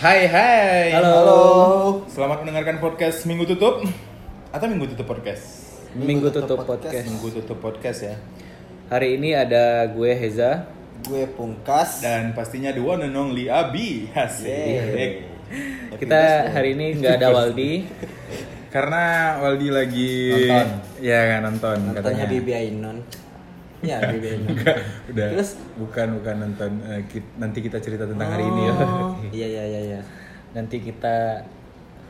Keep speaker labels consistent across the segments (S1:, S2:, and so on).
S1: Hai hai.
S2: Halo.
S1: Selamat mendengarkan podcast Minggu Tutup atau Minggu Tutup Podcast.
S2: Minggu Tutup Podcast.
S1: Minggu Tutup Podcast ya.
S2: Hari ini ada gue Heza.
S3: Gue Pungkas.
S1: Dan pastinya the one and only Abi. Asik.
S3: Yeay.
S2: Kita hari ini nggak ada Waldi.
S4: Karena Waldi lagi
S2: Nonton.
S4: ya kan nonton,
S3: Nontonnya
S4: katanya.
S3: Bibi Ainun. Ya, Bibi Ainun.
S4: Udah.
S3: Terus?
S4: bukan bukan nonton eh, ki- nanti kita cerita tentang hari ini ya.
S3: Oh, Iya, iya, iya, iya.
S2: Nanti kita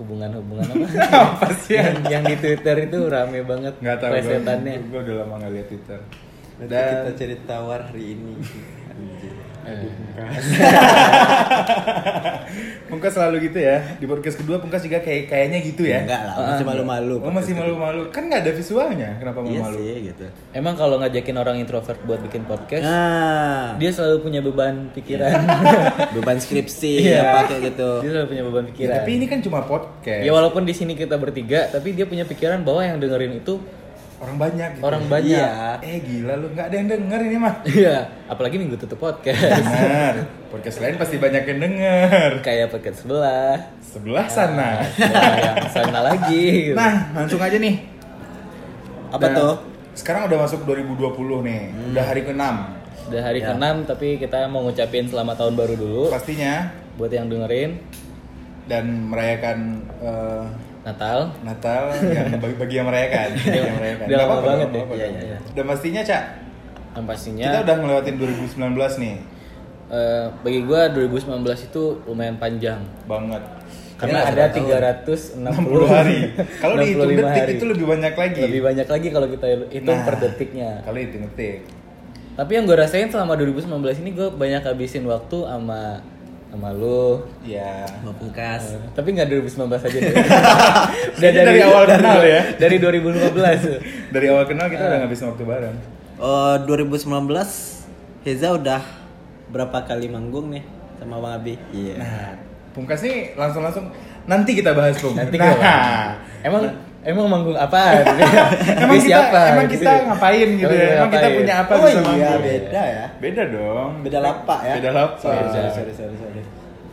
S2: hubungan-hubungan apa? yang, yang di Twitter itu rame banget
S1: Enggak tahu gue.
S2: plesetannya.
S1: Gue udah lama nggak lihat Twitter.
S3: Nanti kita
S1: Dan
S3: cerita war hari ini. Anjir.
S1: Pungkas selalu gitu ya. Di podcast kedua Pungkas juga kayak kayaknya gitu ya.
S3: Enggak lah, masih malu-malu.
S1: Oh, masih malu-malu. Kan nggak ada visualnya. Kenapa mau
S3: Iya
S1: malu?
S3: sih, gitu.
S2: Emang kalau ngajakin orang introvert buat bikin podcast,
S3: Nah,
S2: dia selalu punya beban pikiran.
S3: beban skripsi apa kayak gitu.
S2: dia selalu punya beban
S1: Ya,
S2: pikiran.
S1: tapi ini kan cuma podcast.
S2: Ya walaupun di sini kita bertiga, tapi dia punya pikiran bahwa yang dengerin itu
S1: Orang banyak. Gitu.
S2: orang banyak.
S3: Iya.
S1: Eh gila lu nggak ada yang denger ini mah.
S2: Iya, apalagi minggu tutup podcast.
S1: Benar. Podcast lain pasti banyak yang denger.
S2: Kayak podcast sebelah.
S1: Sebelah
S2: Ya.
S1: sana.
S2: Nah, yang sana lagi. gitu.
S1: Nah, langsung aja nih.
S3: Apa
S1: Nah,
S3: tuh?
S1: Sekarang udah masuk 2020 nih.
S2: Hmm.
S1: Udah hari ke-6.
S2: Udah hari
S1: Iya.
S3: Ya.
S2: ke-6 tapi kita mau ngucapin selamat tahun baru dulu
S1: Pastinya
S2: buat yang dengerin
S1: dan merayakan eh,
S2: Natal.
S1: Natal yang bagi, bagi yang merayakan, bagi yang merayakan.
S2: udah
S1: Nggak
S2: lama
S1: apa-apa,
S2: banget
S1: nggak
S2: ya.
S1: apa-apa,
S2: Iya,
S1: nggak
S2: iya, Ya.
S1: apa-apa. Dan pastinya, Cak,
S2: Dan pastinya
S1: kita udah ngelewatin 2019 nih.
S2: eh, bagi gua 2019 itu lumayan panjang.
S1: Banget.
S2: Karena
S3: Ya,
S2: ada
S3: tahun.
S2: 360
S1: 60 hari. Kalau dihitung
S2: 65
S1: detik
S2: hari.
S1: itu lebih banyak lagi.
S2: lebih banyak lagi kalau kita hitung
S1: Nah,
S2: per detiknya.
S1: Kalau dihitung detik.
S2: Tapi yang gue rasain selama 2019 ini gue banyak habisin waktu sama sama lu.
S1: Ya.
S3: Mau pungkas.
S2: Tapi nggak 2019 aja deh.
S1: Kayaknya dari awal kenal ya.
S2: Dari 2015.
S1: Dari awal kenal kita udah ngabisin waktu bareng.
S3: Oh, 2019 Heza udah berapa kali manggung nih sama Bang Abi? Iya.
S1: Nah, Pungkas nih langsung-langsung nanti kita bahas Pung.
S2: Nanti
S1: nah,
S2: kita bahas. ya, Emang emang manggung apa?
S1: emang kita, emang kita ngapain gitu ya? Emang kita punya apa
S3: Oh
S1: bisa
S3: iya,
S1: manggung?
S3: beda ya.
S1: Beda dong.
S3: Beda lapak ya.
S1: Beda lapak.
S3: Sorry, sorry, sorry, sorry, sorry.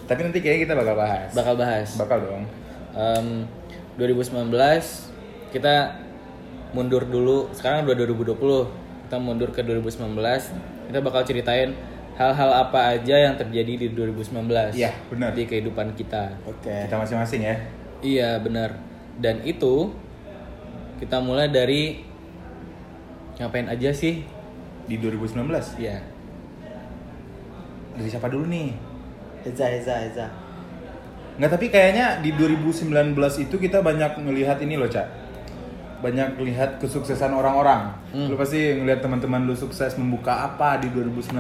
S1: Tapi nanti kayaknya kita bakal bahas.
S2: bakal bahas.
S1: Bakal dong.
S2: Em, 2019 kita mundur dulu. Sekarang udah 2020. Kita mundur ke 2019. Kita bakal ceritain hal-hal apa aja yang terjadi di 2019.
S1: Iya, benar.
S2: Di kehidupan kita.
S3: Oke.
S1: Kita masing-masing ya.
S2: Iya benar. Dan itu kita mulai dari ngapain aja sih?
S1: Di 2019.
S2: Iya.
S1: Dari siapa dulu nih?
S3: Heza, Heza, Heza.
S1: Nggak, tapi kayaknya di 2019 itu kita banyak melihat ini loh, Cak. Banyak lihat kesuksesan orang-orang.
S2: Hmm.
S1: Lu pasti ngelihat teman-teman lu sukses membuka apa di 2019.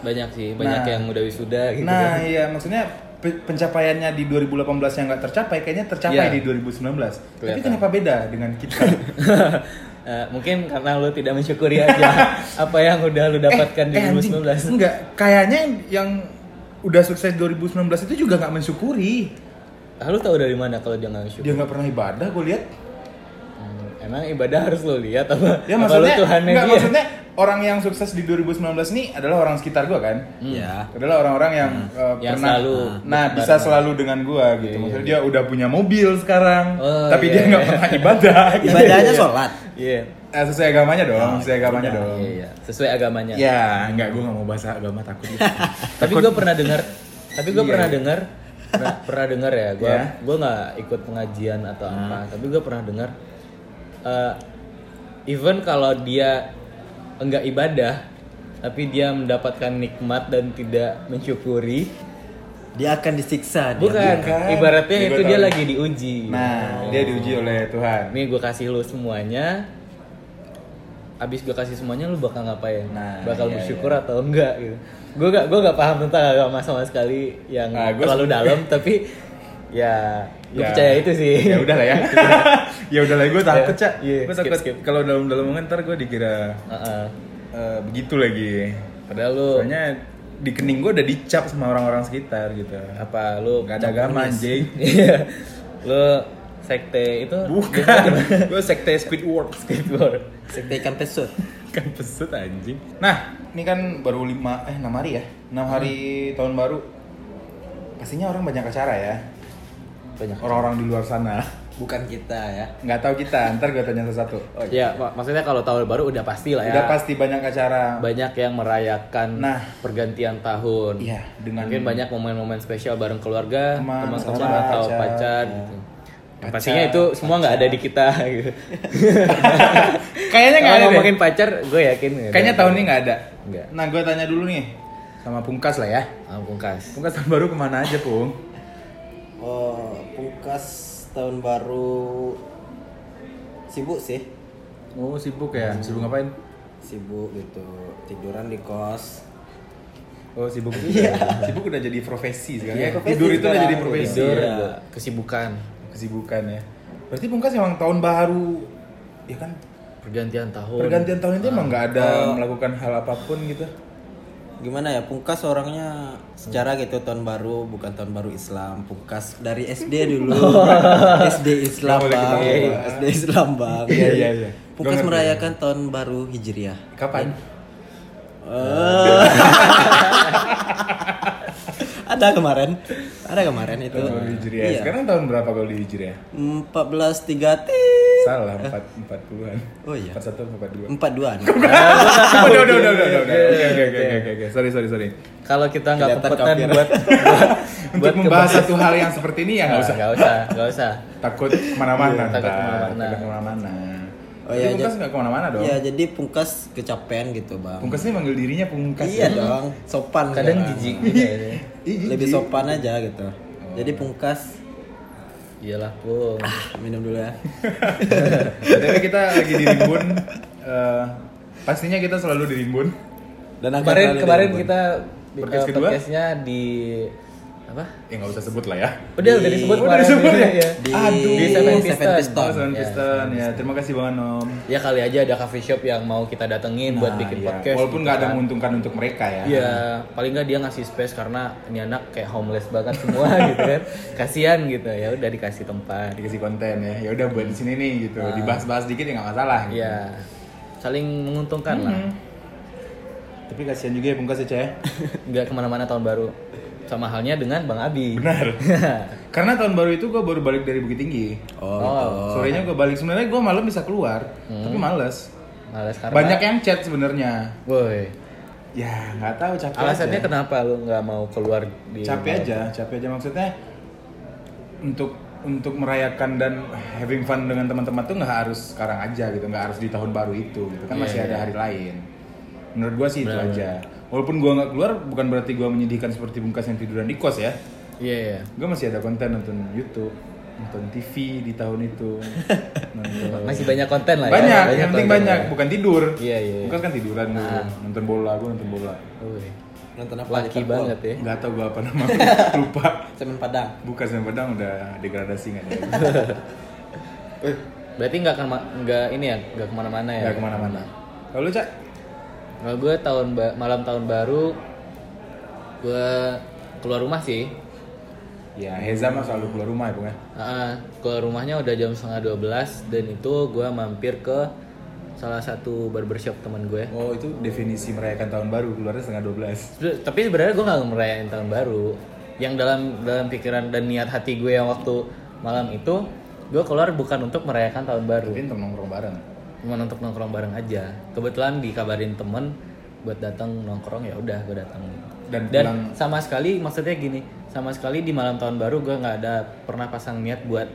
S2: Banyak sih, banyak
S1: Nah.
S2: yang udah wisuda gitu.
S1: Nah, iya maksudnya pe- pencapaiannya di 2018 yang nggak tercapai kayaknya tercapai
S2: Iya.
S1: di 2019. Tapi
S2: Kelihatan.
S1: kenapa beda dengan kita?
S2: Eh, mungkin karena lu tidak mensyukuri aja apa yang udah lu dapatkan di
S1: Eh, eh, anjing,
S2: 2019.
S1: Enggak, kayaknya yang udah sukses 2019 itu juga nggak mensyukuri.
S2: Ah, lu tahu dari mana kalau dia nggak mensyukuri?
S1: Dia nggak pernah ibadah, gue lihat.
S2: Hmm, emang ibadah harus lu lihat apa?
S1: Ya
S2: apa
S1: maksudnya,
S2: lu Tuhannya
S1: nggak,
S2: dia?
S1: maksudnya orang yang sukses di 2019 ini adalah orang sekitar gue kan.
S3: Iya.
S1: adalah orang-orang yang, eh,
S2: Hmm. Yang
S1: pernah
S2: selalu
S1: nah
S2: bareng.
S1: bisa selalu dengan gua gitu maksudnya dia udah punya mobil sekarang
S2: Oh,
S1: tapi
S2: iya,
S1: dia nggak
S2: iya.
S1: pernah ibadah gitu.
S3: Ibadahnya sholat.
S2: Iya.
S1: Eh, sesuai agamanya dong sesuai agamanya dong
S2: Ah, Iya, iya. sesuai agamanya.
S1: ya nggak gua nggak mau bahas agama takut gitu.
S2: tapi gue pernah dengar tapi gue
S1: Iya.
S2: pernah dengar pernah, pernah dengar ya gue
S1: Ya.
S2: gue nggak ikut pengajian atau
S1: Hmm.
S2: apa tapi gue pernah dengar eh, even kalau dia enggak ibadah tapi dia mendapatkan nikmat dan tidak mensyukuri
S3: Dia akan disiksa. dia.
S2: bukan,
S1: Ya, bukan.
S2: ibaratnya
S1: Ini
S2: itu
S1: gua
S2: dia
S1: tahu.
S2: lagi diuji
S1: nah dia diuji oleh Tuhan
S2: ini gue kasih lu semuanya abis gue kasih semuanya lu bakal ngapain
S1: Nah,
S2: bakal
S1: iya,
S2: bersyukur atau enggak gitu gue gak gue gak paham tentang agama sama sekali yang
S1: Nah, gua-
S2: terlalu dalam tapi ya gue
S1: Ya.
S2: percaya itu sih
S1: ya udah lah ya ya udah lah gua takut
S2: Iya.
S1: cak
S2: Iya,
S1: gua
S2: skip,
S1: takut
S2: skip.
S1: kalau dalam-dalam ntar gua dikira
S2: Heeh.
S1: eh, begitu lagi
S2: padahal lu
S1: soalnya di kening gua udah dicap sama orang-orang sekitar gitu
S2: apa lu
S1: nggak ada agama anjing
S2: Iya. lu sekte itu
S1: Bukan, gue sekte Squidward
S2: skateboard
S3: Sekte ikan pesut.
S1: Kan pesut anjing Hmm. Nah, ini kan baru 5, eh 6 hari ya 6 hari tahun baru pastinya orang banyak acara ya.
S2: Banyak.
S1: Orang-orang di luar sana.
S3: Bukan kita ya.
S1: Nggak tahu kita, ntar gue tanya satu-satu.
S2: Ya, mak- maksudnya kalau tahun baru udah pasti
S1: Oh,
S2: lah ya.
S1: iya. Udah pasti banyak acara.
S2: Banyak yang merayakan
S1: Nah.
S2: pergantian tahun.
S1: Iya, dengan
S2: Mungkin banyak momen-momen spesial bareng keluarga,
S1: Teman,
S2: teman-teman
S1: sahabat,
S2: atau
S1: pacar,
S2: pacar.
S1: ya.
S2: gitu.
S1: Pacar,
S2: Pastinya itu semua nggak ada di kita. gitu.
S1: Kayaknya nggak
S2: Kalau
S1: ada. deh.
S2: ngomongin pacar, gue yakin. nggak ada.
S1: Kayaknya tahun ini nggak ada.
S2: Nggak.
S1: Nah, gue tanya dulu nih sama Pungkas lah ya.
S2: Ampun, Pungkas.
S1: Pungkas tahun baru kemana aja, Pung?
S3: Oh, pungkas tahun baru sibuk sih.
S1: Oh, sibuk ya.
S3: Hmm.
S1: Sibuk ngapain?
S3: Sibuk gitu, tiduran di kos.
S1: Oh, sibuk juga. Sibuk udah jadi profesi sekarang.
S3: Iya,
S1: ya.
S3: profesi
S1: Tidur itu udah
S3: sekarang.
S1: jadi profesi.
S2: Tidur,
S3: Iya.
S2: kesibukan,
S1: Kesibukan ya. Berarti Pungkas emang tahun baru ya kan
S3: Oh.
S2: pergantian tahun.
S1: pergantian tahun itu emang nggak ada
S3: Eh.
S1: melakukan hal apapun gitu.
S3: Gimana ya, pungkas orangnya secara gitu tahun baru bukan tahun baru Islam, pungkas dari SD dulu. SD Islam,
S1: Nggak boleh
S3: Bang.
S1: ketawa.
S3: SD Islam, Bang.
S1: Iya, iya, iya. Gua
S3: Pungkas
S1: ngerti.
S3: merayakan tahun baru Hijriah.
S1: Kapan?
S3: Eh. ada kemarin. Ada kemarin itu.
S1: Tahun baru Hijriah.
S3: Iya.
S1: Sekarang tahun berapa kalau di Hijriah?
S3: 14 3 ting.
S1: Salah, 4 40-an.
S3: Oh iya.
S1: 41 42.
S3: 42
S1: udah, udah, udah, udah, udah. Oke, oke, oke, oke, oke. Sorry, sorry, sorry.
S2: Kalau kita nggak
S3: Kelihatan
S2: kompeten
S3: kafir.
S2: buat
S1: Untuk membahas satu hal yang seperti ini ya
S3: Nah.
S1: nggak usah.
S2: Nggak usah, nggak usah.
S1: Takut kemana-mana.
S2: Iya, takut
S1: ntar.
S2: kemana-mana.
S1: Takut kemana-mana.
S3: Oh iya,
S1: Tapi Pungkas
S3: jadi-
S1: nggak kemana-mana dong.
S3: Iya, jadi pungkas kecapean gitu, Bang.
S1: Pungkas ini manggil dirinya Pungkas. ya?
S3: iya dong, sopan.
S2: Kadang
S3: sekarang.
S2: jijik juga ya, ini.
S1: Ih,
S3: Lebih sopan aja gitu. Jadi
S1: Oh.
S3: pungkas
S2: Iyalah, Pung.
S3: minum dulu ya.
S1: ya. Tapi kita lagi di Rimbun. Eh, pastinya kita selalu di Rimbun.
S3: Dan akan
S2: Kemarin
S3: selalu
S2: kemarin
S3: diribut.
S2: kita
S1: Podcast
S2: podcast
S1: kedua?
S2: podcastnya di apa?
S1: Ya nggak usah sebut lah ya.
S2: Udah,
S3: Di-
S2: udah disebut
S1: Udah
S2: kemarin.
S1: disebut ya?
S2: Iya.
S3: di
S1: Aduh.
S2: Di Seven Piston.
S1: Oh,
S3: Piston.
S1: Seven
S2: Ya,
S1: Piston. Ya, terima kasih banget Om.
S2: Ya kali aja ada coffee shop yang mau kita datengin buat
S1: Nah,
S2: bikin
S1: iya.
S2: podcast.
S1: Walaupun
S2: gitu
S1: nggak ada
S2: kan.
S1: menguntungkan untuk mereka ya.
S2: Iya, paling nggak dia ngasih space karena ini anak kayak homeless banget semua gitu kan. Kasihan gitu. Ya udah dikasih tempat.
S1: Dikasih konten ya. Ya udah buat di sini nih gitu. Dibahas-bahas dikit ya nggak masalah. gitu.
S2: Nah.
S1: Hmm.
S2: Iya. Saling menguntungkan lah.
S1: Tapi kasihan juga ya Pungkas ya, Cah.
S2: Nggak kemana-mana tahun baru. Sama halnya dengan Bang Abi.
S1: Benar. Karena tahun baru itu gue baru balik dari Bukit Tinggi.
S3: Oh,
S1: Sorenya gue balik. Sebenarnya gue malam bisa keluar, tapi males.
S2: Males Hmm. karena.
S1: Banyak ya. yang chat sebenarnya.
S2: Woi.
S1: Ya nggak tahu capek.
S2: Alasannya
S1: aja.
S2: kenapa lu nggak mau keluar di
S1: capek aja, capek aja maksudnya untuk untuk merayakan dan having fun dengan teman-teman tuh nggak harus sekarang aja gitu, nggak harus di tahun baru itu gitu kan
S2: Iya,
S1: masih ada
S2: iya.
S1: hari lain. Menurut gue sih itu aja. Walaupun gue nggak keluar, bukan berarti gue menyedihkan seperti bungkas yang tiduran di kos ya.
S2: Iya, iya.
S1: Gue masih ada konten nonton YouTube, nonton TV di tahun itu. nonton-
S2: Masih banyak konten lah ya.
S1: banyak, yang penting
S2: konten
S1: banyak, bukan tidur.
S2: Iya, iya.
S1: Bukan kan tiduran gua.
S2: Ah.
S1: nonton bola, gue nonton bola.
S2: Woi.
S3: nonton apa?
S2: Laki
S3: Liverpool?
S2: banget ya.
S1: Gak tau gue apa namanya, lupa.
S3: Semen Padang.
S1: Bukan sama Padang udah degradasi nggak ada.
S2: Berarti nggak kema- nggak ini ya, nggak kemana-mana ya.
S1: Nggak kemana-mana. Kalau lu cak,
S2: Kalau gue Nah, tahun ba- malam tahun baru, gue keluar rumah sih.
S1: ya Heza mah selalu keluar rumah ya bung ya.
S2: Ah, keluar rumahnya udah jam setengah 12 dan itu gue mampir ke salah satu barbershop teman gue.
S1: Oh itu definisi merayakan tahun baru keluarnya setengah 12
S2: Sebenernya- tapi sebenarnya gue nggak merayain tahun baru yang dalam dalam pikiran dan niat hati gue yang waktu malam itu gue keluar bukan untuk merayakan tahun baru
S1: Tapi ntar nongkrong bareng.
S2: cuma untuk nongkrong bareng aja kebetulan dikabarin temen buat datang nongkrong ya udah gue datang
S1: Dan pulang-
S2: sama sekali maksudnya gini sama sekali di malam tahun baru gue nggak ada pernah pasang niat buat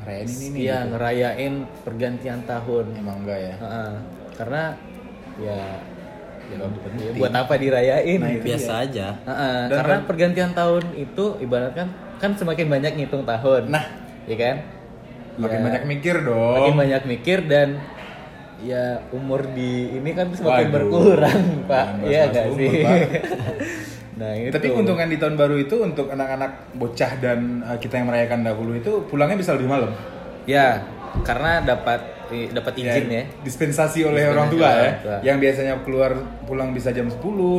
S1: Merayain ini nih. gitu.
S2: ya ngerayain pergantian tahun
S1: Emang enggak ya.
S2: Heeh. karena ya,
S1: Ya nggak penting. Nah, iya.
S2: ya buat apa dirayain gitu.
S3: Biasa aja.
S2: Heeh,
S1: Dan- kan-
S2: karena pergantian tahun itu ibaratkan kan semakin banyak ngitung tahun.
S1: Nah.
S2: ya kan?
S1: Makin
S2: Ya,
S1: banyak mikir dong.
S2: makin banyak mikir dan ya umur di ini kan semakin
S1: Waduh.
S2: berkurang, Pak.
S1: Jangan
S2: Iya
S1: bahas-bahas
S2: gak
S1: umur,
S2: sih?
S1: Pak.
S2: nah, itu.
S1: Tapi keuntungan di tahun baru itu untuk anak-anak bocah dan eh, kita yang merayakan dahulu itu pulangnya bisa lebih malam.
S2: ya karena dapat i- dapat izin ya.
S1: Dispensasi oleh
S2: Dispensasi
S1: orang tua
S2: oleh
S1: ya.
S2: orang tua.
S1: Yang biasanya keluar pulang bisa jam 10,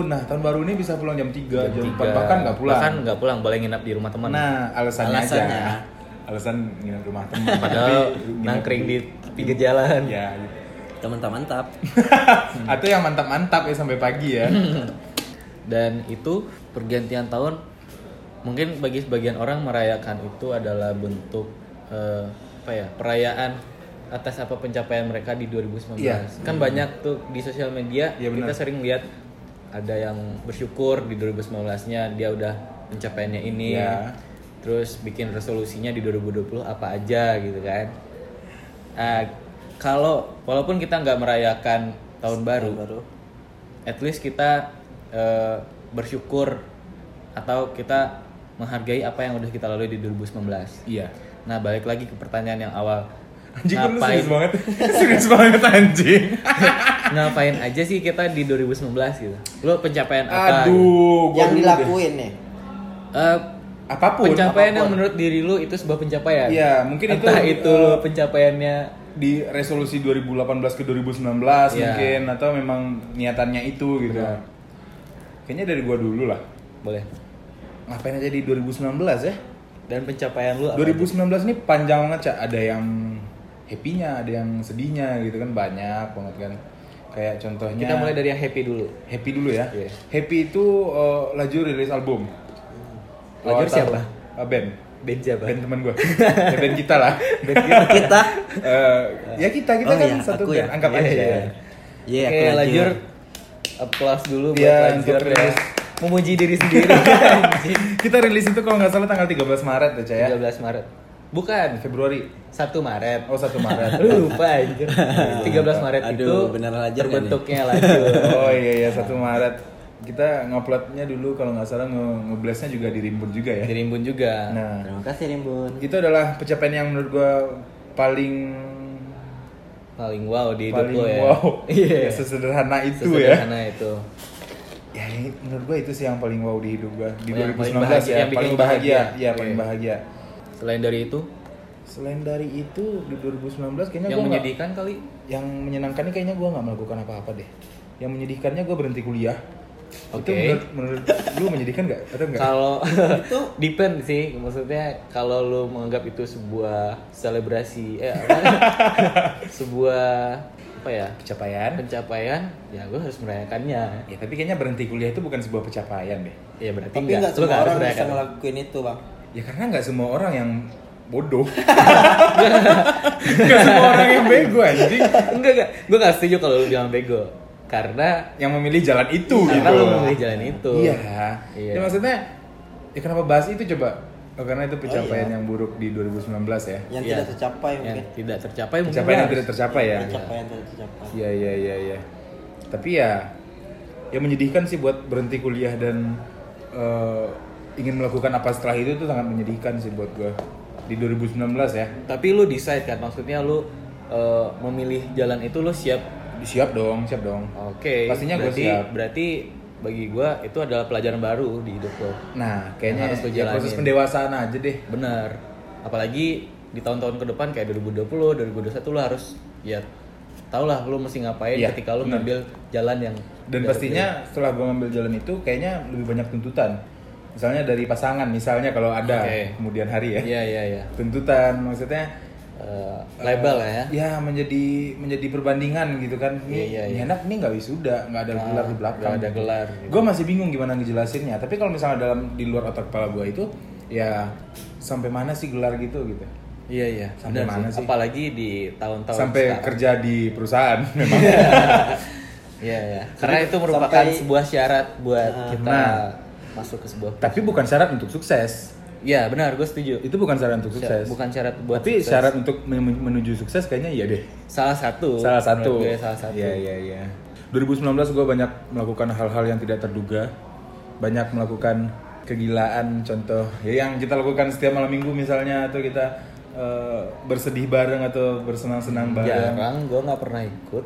S1: nah tahun baru ini bisa pulang jam 3, jam, 4
S2: Tiga-
S1: bahkan nggak pulang.
S2: Bahkan nggak pulang, boleh nginap di rumah teman.
S1: Nah, alasannya,
S3: Alasannya.
S1: aja. Alasan nginep rumah teman.
S2: Padahal
S1: Tapi nginep-
S2: nangkring di pinggir jalan.
S1: Ya. gitu.
S3: Teman-teman mantap.
S1: Atau yang mantap-mantap ya sampai pagi ya.
S2: dan itu pergantian tahun mungkin bagi sebagian orang merayakan itu adalah bentuk eh, apa ya perayaan atas apa pencapaian mereka di 2019
S1: Iya.
S2: kan banyak tuh di sosial media
S1: Iya, benar.
S2: kita sering lihat ada yang bersyukur di 2019-nya dia udah pencapaiannya ini
S1: Iya.
S2: terus bikin resolusinya di 2020 apa aja gitu kan Ah, kalau walaupun kita nggak merayakan tahun baru
S3: baru
S2: at least kita eh, bersyukur atau kita menghargai apa yang udah kita lalui di 2019.
S1: Iya.
S2: Nah, balik lagi ke pertanyaan yang awal.
S1: Anjing lu
S2: ngapain
S1: serius banget. serius banget anjing.
S2: ngapain aja sih kita di 2019 gitu? Lo pencapaian apa? gitu?
S1: Aduh, gua dulu
S3: yang
S1: deh.
S3: dilakuin nih
S2: Eh,
S1: Apapun.
S2: pencapaian yang
S1: apapun.
S2: menurut diri lu itu sebuah pencapaian.
S1: Iya, mungkin itu,
S2: Entah itu
S1: eh,
S2: lo pencapaiannya
S1: di resolusi 2018 ke 2019
S2: Iya.
S1: mungkin atau memang niatannya itu gitu. Kayaknya dari gua dulu lah.
S2: boleh.
S1: Ngapain aja di 2019 ya?
S2: Dan pencapaian lu apa?
S1: 2019 ini panjang banget, Cak. Ada yang happy-nya, ada yang sedihnya gitu kan banyak banget kan. Kayak contohnya
S2: Kita mulai dari yang happy dulu.
S1: Happy dulu ya.
S2: Iya.
S1: Happy itu eh, laju rilis album.
S2: Lajur
S1: Awal
S2: siapa?
S1: tahun. Eh, band.
S2: Benja
S1: Band
S2: Bang.
S1: teman gue. ya, band kita lah. Band kita.
S3: kita
S1: Eh, ya kita kita
S3: Oh,
S1: kan
S3: iya,
S1: satu
S3: aku
S1: band.
S3: ya.
S1: Anggap
S3: Iya,
S1: aja
S3: iya,
S1: ya.
S3: iya. Iya,
S2: Oke,
S3: aku
S2: lanjut.
S3: lanjut.
S2: Applause dulu buat
S1: Iya,
S2: lanjut
S1: untuk
S2: ya.
S1: rilis.
S2: Memuji diri sendiri. Anjing.
S1: Kita rilis itu kalau nggak salah tanggal 13 Maret ya, Cah, ya.
S2: 13 Maret. Bukan,
S1: Februari.
S2: 1 Maret.
S1: Oh, 1 Maret.
S2: Lu lupa anjir. 13 Maret
S3: Aduh,
S2: itu
S3: bener lajur nggak nih?
S2: terbentuknya lajur.
S1: oh iya iya 1 Maret. Kita nguploadnya dulu kalau nggak salah nge- ngeblastnya juga di Rimbun juga ya.
S3: Iya.
S2: Dirimbun juga.
S1: Nah,
S3: terima kasih Rimbun
S1: itu adalah pencapaian yang menurut gua paling
S2: Paling wow di hidup
S1: paling
S2: lo ya.
S1: wow. Ya,
S2: Iya.
S1: sesederhana itu ya.
S2: Sesederhana itu.
S1: Ya ini menurut gua itu sih yang paling wow di hidup gua di
S2: Oh, Yang paling
S1: 2019
S2: bahagia,
S1: ya,
S2: yang bikin
S1: paling
S2: lu
S1: bahagia.
S2: bahagia.
S1: Iya, paling
S2: Oke.
S1: bahagia.
S2: Selain dari itu,
S1: Selain dari itu di 2019 kayaknya
S2: yang
S1: gua nggak-
S2: menyedihkan kali
S1: yang menyenangkannya kayaknya gue nggak melakukan apa-apa deh yang menyedihkannya gue berhenti kuliah
S2: Oke.
S1: itu menurut, menurut lu menyedihkan nggak atau enggak
S2: kalau depend sih maksudnya kalau lu menganggap itu sebuah selebrasi eh apa? sebuah apa ya
S1: pencapaian
S2: pencapaian ya gue harus merayakannya
S1: ya tapi kayaknya berhenti kuliah itu bukan sebuah pencapaian deh
S2: ya berarti
S3: tapi nggak
S2: enggak, lu
S3: semua
S2: harus
S3: orang bisa
S2: merayakan.
S3: ngelakuin itu bang
S1: ya karena nggak semua orang yang bodoh nggak semua orang yang bego anjing
S2: enggak enggak gue gak setuju kalau lu bilang bego karena
S1: yang memilih jalan itu
S2: karena
S1: gitu
S2: lu memilih jalan itu
S1: iya
S2: Iya.
S1: ya maksudnya ya kenapa bahas itu coba Oh, karena itu pencapaian yang buruk di 2019 ya
S3: yang
S2: Iya.
S3: tidak tercapai
S2: yang
S3: mungkin
S2: tidak tercapai mungkin
S1: pencapaian yang
S2: harus.
S1: tidak tercapai
S2: Iya,
S1: ya
S3: pencapaian tidak tercapai
S1: Iya iya iya iya. Tapi ya ya menyedihkan sih buat berhenti kuliah dan eh, ingin melakukan apa setelah itu tuh sangat menyedihkan sih buat gua di 2019 ya.
S2: tapi lu decide kan maksudnya lu eh, memilih jalan itu lu siap
S1: Siap dong, siap dong.
S2: oke
S1: Pastinya gua
S2: berarti
S1: siap.
S2: berarti bagi gue itu adalah pelajaran baru di hidup lo
S1: Nah,
S2: Yang
S1: kayaknya
S2: harus lu
S1: ya proses
S2: jalanin.
S1: pendewasaan aja deh.
S2: bener apalagi di tahun-tahun ke depan kayak 2020 2021 lu harus ya tau lah lu mesti ngapain
S1: Iya,
S2: ketika lu
S1: bener.
S2: ngambil jalan yang
S1: Dan
S2: iya.
S1: pastinya setelah gua ngambil jalan itu kayaknya lebih banyak tuntutan. Misalnya dari pasangan misalnya kalau ada
S2: Oke.
S1: kemudian hari ya.
S2: iya iya iya
S1: Tuntutan maksudnya
S2: Eh, label lah ya
S1: ya menjadi menjadi perbandingan gitu kan ini
S2: Iya, iya,
S1: ini
S2: iya.
S1: anak ini nggak wisuda nggak ada
S2: Ah,
S1: gelar di belakang
S2: nggak ada gelar, gitu.
S1: gue masih bingung gimana ngejelasinnya tapi kalau misalnya dalam di luar otak kepala gue itu ya sampai mana sih gelar gitu gitu
S2: Iya iya.
S1: Sampai
S2: benar
S1: mana sih?
S2: sih. Apalagi di tahun-tahun
S1: sampai
S2: sekarang.
S1: kerja di perusahaan memang
S2: Iya iya. Karena itu merupakan
S3: sampai-
S2: sebuah syarat buat kita
S1: nah.
S2: masuk ke sebuah.
S1: tapi bukan syarat untuk sukses
S2: Iya benar, gue setuju.
S1: itu bukan syarat untuk sukses
S2: Bukan syarat buat.
S1: tapi
S2: sukses.
S1: syarat untuk men- menuju sukses kayaknya iya deh
S2: salah satu.
S1: salah satu
S2: Menurut gue salah satu.
S1: iya iya iya 2019 gue banyak melakukan hal-hal yang tidak terduga banyak melakukan kegilaan contoh ya yang kita lakukan setiap malam minggu misalnya atau kita eh, bersedih bareng atau
S2: Iya.
S1: bersenang-senang bareng
S2: Jarang, gue nggak pernah ikut.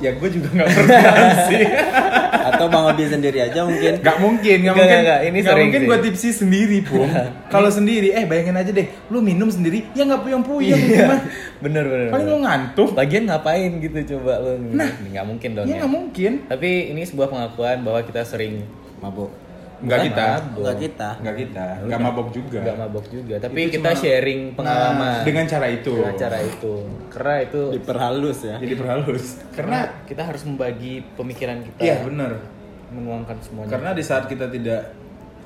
S1: ya gue juga nggak pernah sih
S3: atau bang Obi sendiri aja mungkin
S1: Gak mungkin, gak
S2: Nggak,
S1: mungkin.
S2: nggak, nggak. Ini
S1: nggak
S2: sering
S1: mungkin
S2: sih.
S1: gue tipsi sendiri, Pung. Kalau sendiri, eh bayangin aja deh, lu minum sendiri, ya nggak puyeng-puyeng gimana?
S2: Iya. Bener bener.
S1: Paling lu
S2: bener.
S1: ngantuk.
S2: Bagian ngapain gitu coba lu? Nah, nggak mungkin dong
S1: Ya
S2: ya.
S1: nggak mungkin.
S2: Tapi ini sebuah pengakuan bahwa kita sering
S3: mabuk
S1: Nggak
S2: Bukan
S1: kita.
S2: mabok.
S3: nggak kita
S1: Nggak kita. Nggak mabok juga.
S2: nggak mabok juga. Tapi
S1: Itu
S2: kita
S1: cuma-
S2: sharing pengalaman
S1: Nah, dengan cara itu.
S2: dengan cara itu. Karena itu
S3: diperhalus ya
S1: Jadi berhalus. Karena
S2: karena kita harus membagi pemikiran kita
S1: iya benar.
S2: menuangkan semuanya
S1: Karena di saat kita tidak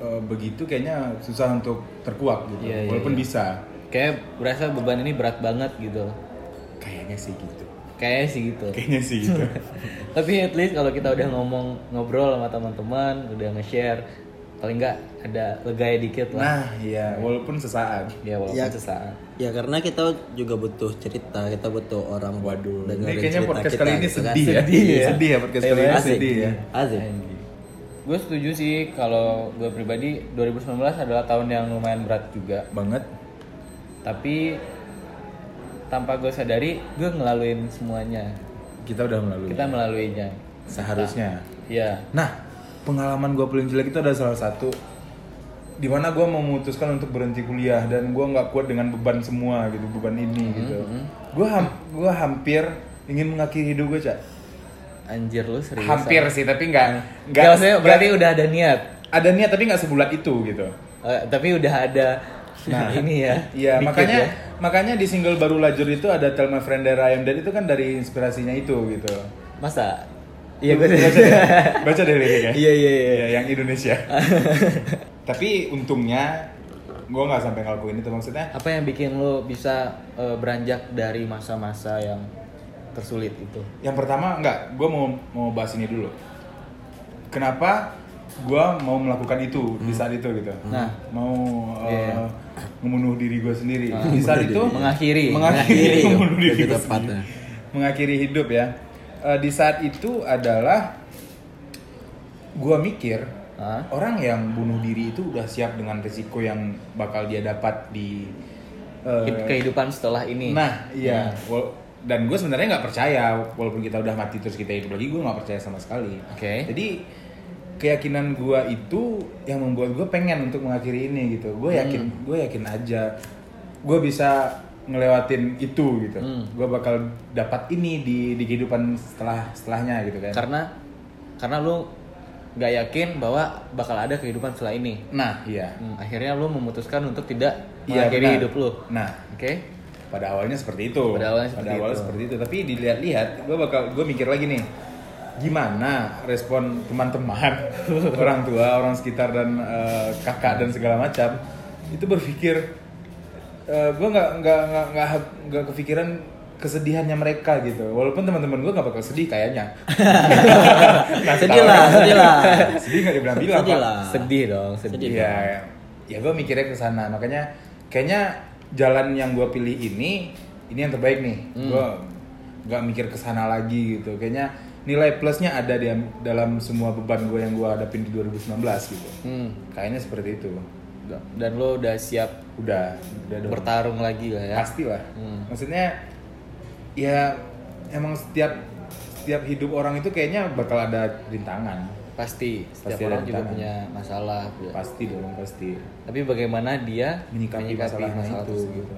S1: eh, begitu kayaknya susah untuk terkuak gitu.
S2: Iya, iya,
S1: Walaupun
S2: iya.
S1: bisa.
S2: Kayak berasa beban ini berat banget gitu.
S1: Kayaknya sih gitu.
S2: Kayaknya sih gitu.
S1: Kayaknya sih gitu.
S2: Tapi at least kalau kita udah ngomong ngobrol sama teman-teman, udah nge-share, paling nggak ada legaya dikit lah.
S1: nah, iya, walaupun sesaat.
S2: ya walaupun
S3: Ya.
S2: sesaat.
S3: Ya karena kita juga butuh cerita, kita butuh orang buat dengerin
S1: Ini kayaknya
S3: cerita
S1: podcast
S3: kita,
S1: kali ini
S3: gitu kan.
S1: sedih ya.
S2: Sedih ya. Iya.
S1: Sedih ya podcast kali ini
S3: Asik.
S1: sedih ya.
S3: Asik.
S2: Gue setuju sih kalau gue pribadi 2019 adalah tahun yang lumayan berat juga.
S1: Banget.
S2: Tapi tanpa gue sadari, gue ngelaluin semuanya.
S1: Kita udah melalui.
S2: Kita melaluinya.
S1: Seharusnya.
S2: Iya.
S1: Nah, pengalaman gue paling jelek itu ada salah satu dimana gue memutuskan untuk berhenti kuliah dan gue nggak kuat dengan beban semua gitu beban ini
S2: Hmm,
S1: gitu gue ham- gua hampir ingin mengakhiri hidup gue cak
S2: Anjir lu serius.
S1: hampir sih tapi nggak
S2: Gak, Iya. maksudnya berarti udah ada niat.
S1: ada niat tapi nggak sebulat itu gitu
S2: Eh, tapi udah ada
S1: Nah.
S2: ini ya.
S1: Iya,
S2: dikit
S1: makanya
S2: ya.
S1: makanya di single baru lajur itu ada Tell My Friend That I Am Dead itu kan dari inspirasinya itu gitu.
S2: Masa? Iya gue
S1: baca deh, baca deh liriknya.
S2: Iya, iya, iya.
S1: Iya, yang Indonesia. Tapi untungnya gue nggak sampai ngelakuin itu maksudnya
S2: Apa yang bikin lo bisa eh, beranjak dari masa-masa yang tersulit itu?
S1: yang pertama nggak gue mau mau bahas ini dulu kenapa gue mau melakukan itu di saat itu gitu
S2: Nah.
S1: mau uh,
S2: Iya, iya. Nah,
S1: membunuh diri gue sendiri di saat itu
S2: Mengakhiri.
S1: mengakhiri
S2: gitu.
S3: Mengakhiri,
S1: membunuh Iya, diri
S3: iya. lebih
S1: gua
S3: tepatnya.
S1: sendiri. mengakhiri hidup ya Eh, di saat itu adalah gue mikir
S2: Hah?
S1: orang yang bunuh diri itu udah siap dengan resiko yang bakal dia dapat di eh,
S2: Hid- Kehidupan setelah ini.
S1: Nah, iya.
S2: Hmm.
S1: Wal- dan gue sebenarnya nggak percaya walaupun kita udah mati terus kita hidup lagi, gue nggak percaya sama sekali.
S2: Oke.
S1: Jadi keyakinan gue itu yang membuat gue pengen untuk mengakhiri ini gitu.
S2: Hmm.
S1: Gue yakin, gue yakin aja gue bisa ngelewatin itu gitu.
S2: Hmm.
S1: Gue bakal dapat ini di di kehidupan setelah setelahnya gitu kan.
S2: Karena karena lu nggak yakin bahwa bakal ada kehidupan setelah ini.
S1: Nah, iya.
S2: Hmm, akhirnya lu memutuskan untuk tidak
S1: Iya,
S2: mengakhiri
S1: benar.
S2: hidup lu. Oke?
S1: Nah, pada awalnya seperti itu
S2: Pada awalnya seperti
S1: Pada awalnya
S2: itu.
S1: seperti itu. tapi dilihat-lihat gue bakal gue mikir lagi nih gimana respon teman-teman orang tua orang sekitar dan eh, kakak dan segala macam itu berpikir gue nggak nggak nggak nggak nggak kepikiran kesedihannya mereka gitu walaupun teman-teman gue nggak bakal sedih kayaknya Nah,
S3: Sedih lah,
S1: tahu.
S3: sedih lah.
S1: sedih nggak dibilang-bilang
S3: Sedih
S1: Pak.
S3: lah.
S2: Sedih dong, sedih.
S1: Iya, ya gue mikirnya ke sana. Makanya kayaknya jalan yang gue pilih ini ini yang terbaik nih.
S2: Hmm.
S1: Gue nggak mikir ke sana lagi gitu. Kayaknya nilai plusnya ada di dalam semua beban gue yang gue hadapin di 2019 gitu.
S2: Hmm.
S1: Kayaknya seperti itu.
S2: Dan lu udah siap
S1: Udah, udah dong.
S2: bertarung lagi lah ya.
S1: Pasti lah.
S2: Hmm.
S1: Maksudnya ya emang setiap setiap hidup orang itu kayaknya bakal ada rintangan.
S2: Pasti. Setiap
S1: Pasti ada
S2: orang juga
S1: tantangan.
S2: punya masalah.
S1: Pasti dong, pasti.
S2: Tapi bagaimana dia
S1: menyikapi, masalahnya
S2: masalah
S1: itu
S2: tersebut. ya.
S1: gitu.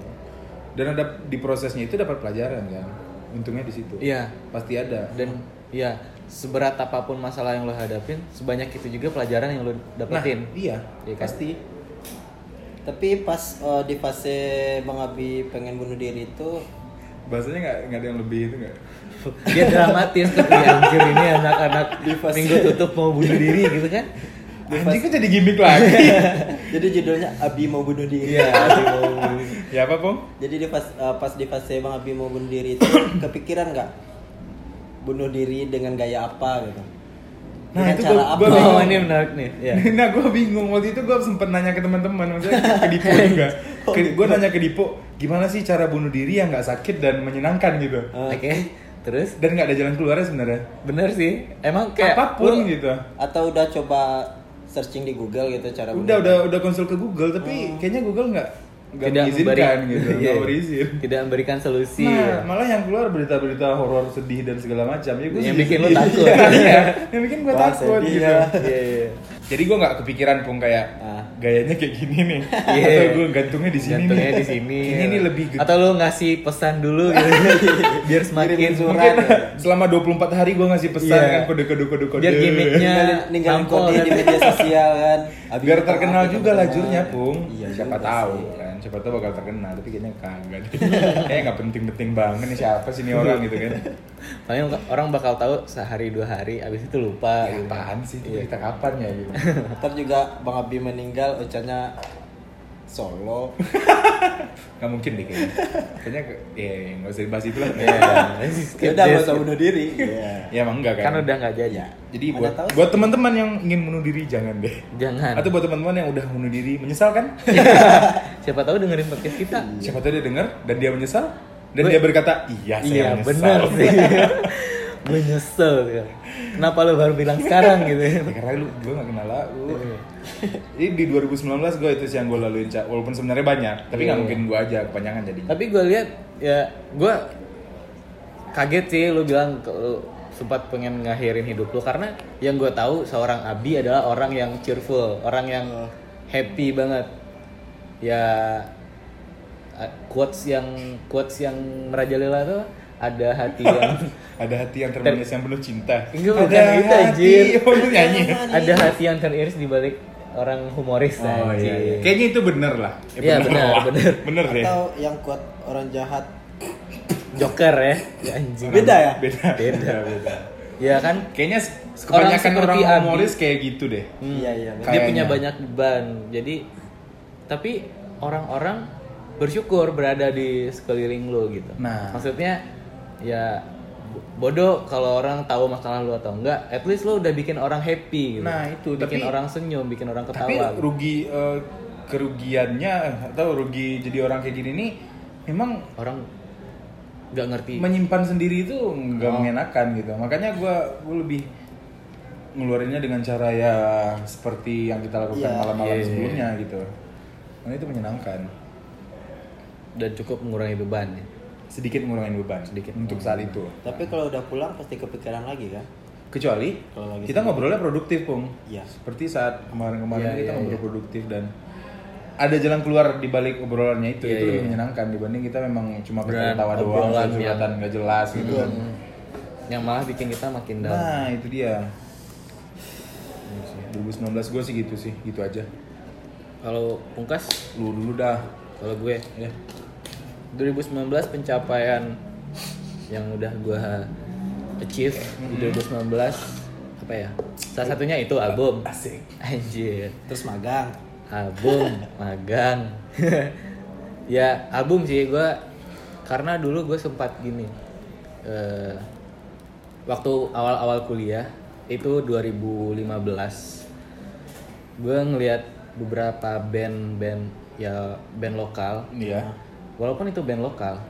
S1: Dan ada di prosesnya itu dapat pelajaran kan. Untungnya di situ.
S2: Iya.
S1: Pasti ada. Nah,
S2: Dan ya seberat apapun masalah yang lo hadapin, sebanyak itu juga pelajaran yang lo dapetin.
S1: iya,
S2: Iya kan?
S1: pasti.
S3: Tapi pas eh, di fase Bang Abi pengen bunuh diri itu
S1: Bahasanya nggak nggak ada yang lebih itu nggak.
S2: Dia dramatis tuh "Ih, anjir ini anak-anak
S3: Di fase-
S2: minggu tutup mau bunuh diri gitu kan.
S1: Anjing kan jadi gimmick lagi.
S3: jadi judulnya Abi mau bunuh diri.
S1: ya apa pong?
S3: Jadi di pas eh, pas di fase Bang Abi mau bunuh diri itu kepikiran nggak bunuh diri dengan gaya apa gitu?
S1: Nah,
S3: Dengan
S1: itu
S3: cara
S1: gua-
S3: apa?
S1: gua
S2: Oh,
S1: bingung.
S2: ini menarik nih. Ya.
S1: nah gue bingung waktu itu gue sempet nanya ke teman-teman maksudnya ke Dipo juga.
S2: Oh,
S1: gue
S2: iya.
S1: nanya ke Dipo gimana sih cara bunuh diri yang nggak sakit dan menyenangkan gitu.
S2: Oke. Terus
S1: Dan nggak ada jalan keluarnya sebenarnya.
S2: bener sih. Emang kayak
S1: Apapun
S2: lo-
S1: gitu.
S3: Atau udah coba searching di Google gitu
S1: udah
S3: cara bunuh
S1: udah udah konsul ke Google tapi kayaknya Google nggak nggak
S2: Oh. Tidak
S1: mengizinkan
S2: memberi-
S1: gitu
S2: Iya.
S1: nggak berizin
S2: tidak memberikan solusi.
S1: nah malah yang keluar berita-berita horor sedih dan segala macam ya gue
S2: Yang
S1: sedih
S2: bikin lu
S1: sendiri.
S2: takut.
S1: Iya, iya. yang bikin gue
S3: Wah,
S1: takut
S3: sedih
S1: gitu
S3: ya.
S2: Iya, iya.
S1: jadi gue nggak kepikiran pun kayak
S3: Ah.
S1: gayanya kayak gini nih
S2: Iya.
S1: atau gue gantungnya di sini
S2: Jantungnya
S1: nih
S2: di sini.
S1: ini nih lebih gitu. gede. Iya,
S2: Atau lu ngasih pesan dulu gitu. biar semakin
S3: Kirimin surat.
S1: mungkin selama 24 hari gue ngasih pesan
S2: gitu. Iya.
S1: kan kode kode kode kode
S2: Biar gimmicknya
S3: Ninggalin- ninggalin
S2: tampol
S3: kode di
S2: kan.
S3: media sosial kan. Abi
S1: biar
S3: minta
S1: terkenal
S3: maaf ke
S1: juga
S3: teman-teman.
S1: lajurnya pung
S3: kan. Iya,
S1: siapa
S3: juga
S1: tahu
S3: sih.
S1: kan kan siapa tahu bakal terkenal tapi kayaknya kagak deh. kayak nggak penting-penting banget nih siapa sih nih orang gitu kan
S2: Paling orang bakal tahu sehari dua hari, abis itu lupa.
S1: ya,
S2: gitu.
S1: apaan sih itu cerita kapan ya gitu
S3: Ntar juga Bang Abi meninggal, Ocannya Solo.
S1: nggak mungkin deh kayaknya kayaknya ke- ya nggak usah dibahas itu lah
S3: Ya udah nggak usah bunuh diri. Iya.
S1: ya emang enggak kan
S2: Kan udah nggak jadi.
S3: Ya.
S1: jadi
S3: Mana
S1: buat
S3: tahu
S1: buat teman-teman yang ingin bunuh diri jangan deh
S2: Jangan.
S1: atau buat teman-teman yang udah bunuh diri menyesal kan
S2: Siapa tahu dengerin podcast kita.
S1: siapa tahu dia denger dan dia menyesal dan
S2: Gue-
S1: dia berkata iya saya
S2: iya
S1: menyesal
S2: benar sih. menyesal. ya. Kenapa lu baru bilang sekarang gitu?
S1: Ya, karena lu gue gak kenal lu
S2: Iya.
S1: jadi di 2019 gue itu sih yang gue laluin Cak. walaupun sebenarnya banyak tapi nggak
S2: Iya.
S1: mungkin gue aja kepanjangan jadi
S2: Tapi gue lihat ya gue kaget sih lu bilang ke- lu sempat pengen ngakhirin hidup lu karena yang gue tahu seorang Abi adalah orang yang cheerful, orang yang
S1: Oh.
S2: happy banget. Ya a- quotes yang quotes yang merajalela tuh ada hati yang
S1: ada hati yang termanis yang penuh cinta ada
S2: Enggak, bukan gitu, anjir.
S1: oh, lu nyanyi
S2: ada hati yang teriris di balik orang humoris
S1: oh iya, iya.
S2: anjing.
S1: kayaknya itu bener lah Eh,
S2: Iya, bener,
S1: lah.
S2: bener.
S1: bener deh
S3: Atau yang kuat orang jahat.
S2: Joker ya, ya anjing.
S3: Beda ya?
S1: beda
S2: Beda.
S1: beda
S2: Ya kan
S1: kayaknya se- kebanyakan orang,
S2: seperti Abi.
S1: humoris kayak gitu deh
S2: Hmm.
S3: Iya iya. bener.
S1: Kayaknya.
S2: Dia punya banyak beban. Jadi tapi orang-orang bersyukur berada di sekeliling lo gitu.
S1: Nah.
S2: maksudnya ya bo- bodoh kalau orang tahu masalah lu atau enggak, at least lo udah bikin orang happy gitu.
S1: Nah, itu.
S2: bikin
S1: Tapi-
S2: orang senyum, bikin orang ketawa.
S1: tapi
S2: gitu.
S1: rugi eh, kerugiannya atau rugi jadi orang kayak gini nih memang
S2: Orang nggak ngerti.
S1: menyimpan sendiri itu nggak mengenakan gitu makanya gue gue lebih ngeluarinnya dengan cara ya seperti yang kita lakukan
S3: Iya.
S1: malam-malam
S2: Iya.
S1: sebelumnya gitu karena itu menyenangkan
S2: dan cukup mengurangi beban. ya.
S1: sedikit ngurangin beban sedikit
S2: Hmm.
S1: untuk saat itu
S3: Tapi kalau udah pulang pasti kepikiran lagi kan?
S1: kecuali
S3: Kalau lagi
S1: kita ngobrolnya produktif pung
S3: Iya.
S1: seperti saat kemarin-kemarin
S2: Iya,
S1: kita
S2: iya,
S1: ngobrol produktif dan ada jalan keluar di balik obrolannya itu
S2: Iya,
S1: itu lebih
S2: iya.
S1: menyenangkan dibanding kita memang cuma
S2: Dan
S1: ketawa doang
S2: obrolan
S1: curhatan nggak jelas gitu kan
S2: Yang malah bikin kita makin down.
S1: Nah itu dia. Iya sih, 2019 gue sih gitu sih, gitu aja.
S2: Kalau pungkas
S1: Lu dulu dah.
S2: kalau gue
S1: Ya.
S2: 2019 pencapaian yang udah gue achieve di 2019 apa ya salah satunya itu album
S1: Asik.
S2: anjir
S3: Terus magang.
S2: album magang ya album sih gue karena dulu gue sempat gini eh, waktu awal-awal kuliah itu 2015 gue ngeliat beberapa band-band ya band lokal
S1: Iya.
S2: walaupun itu band lokal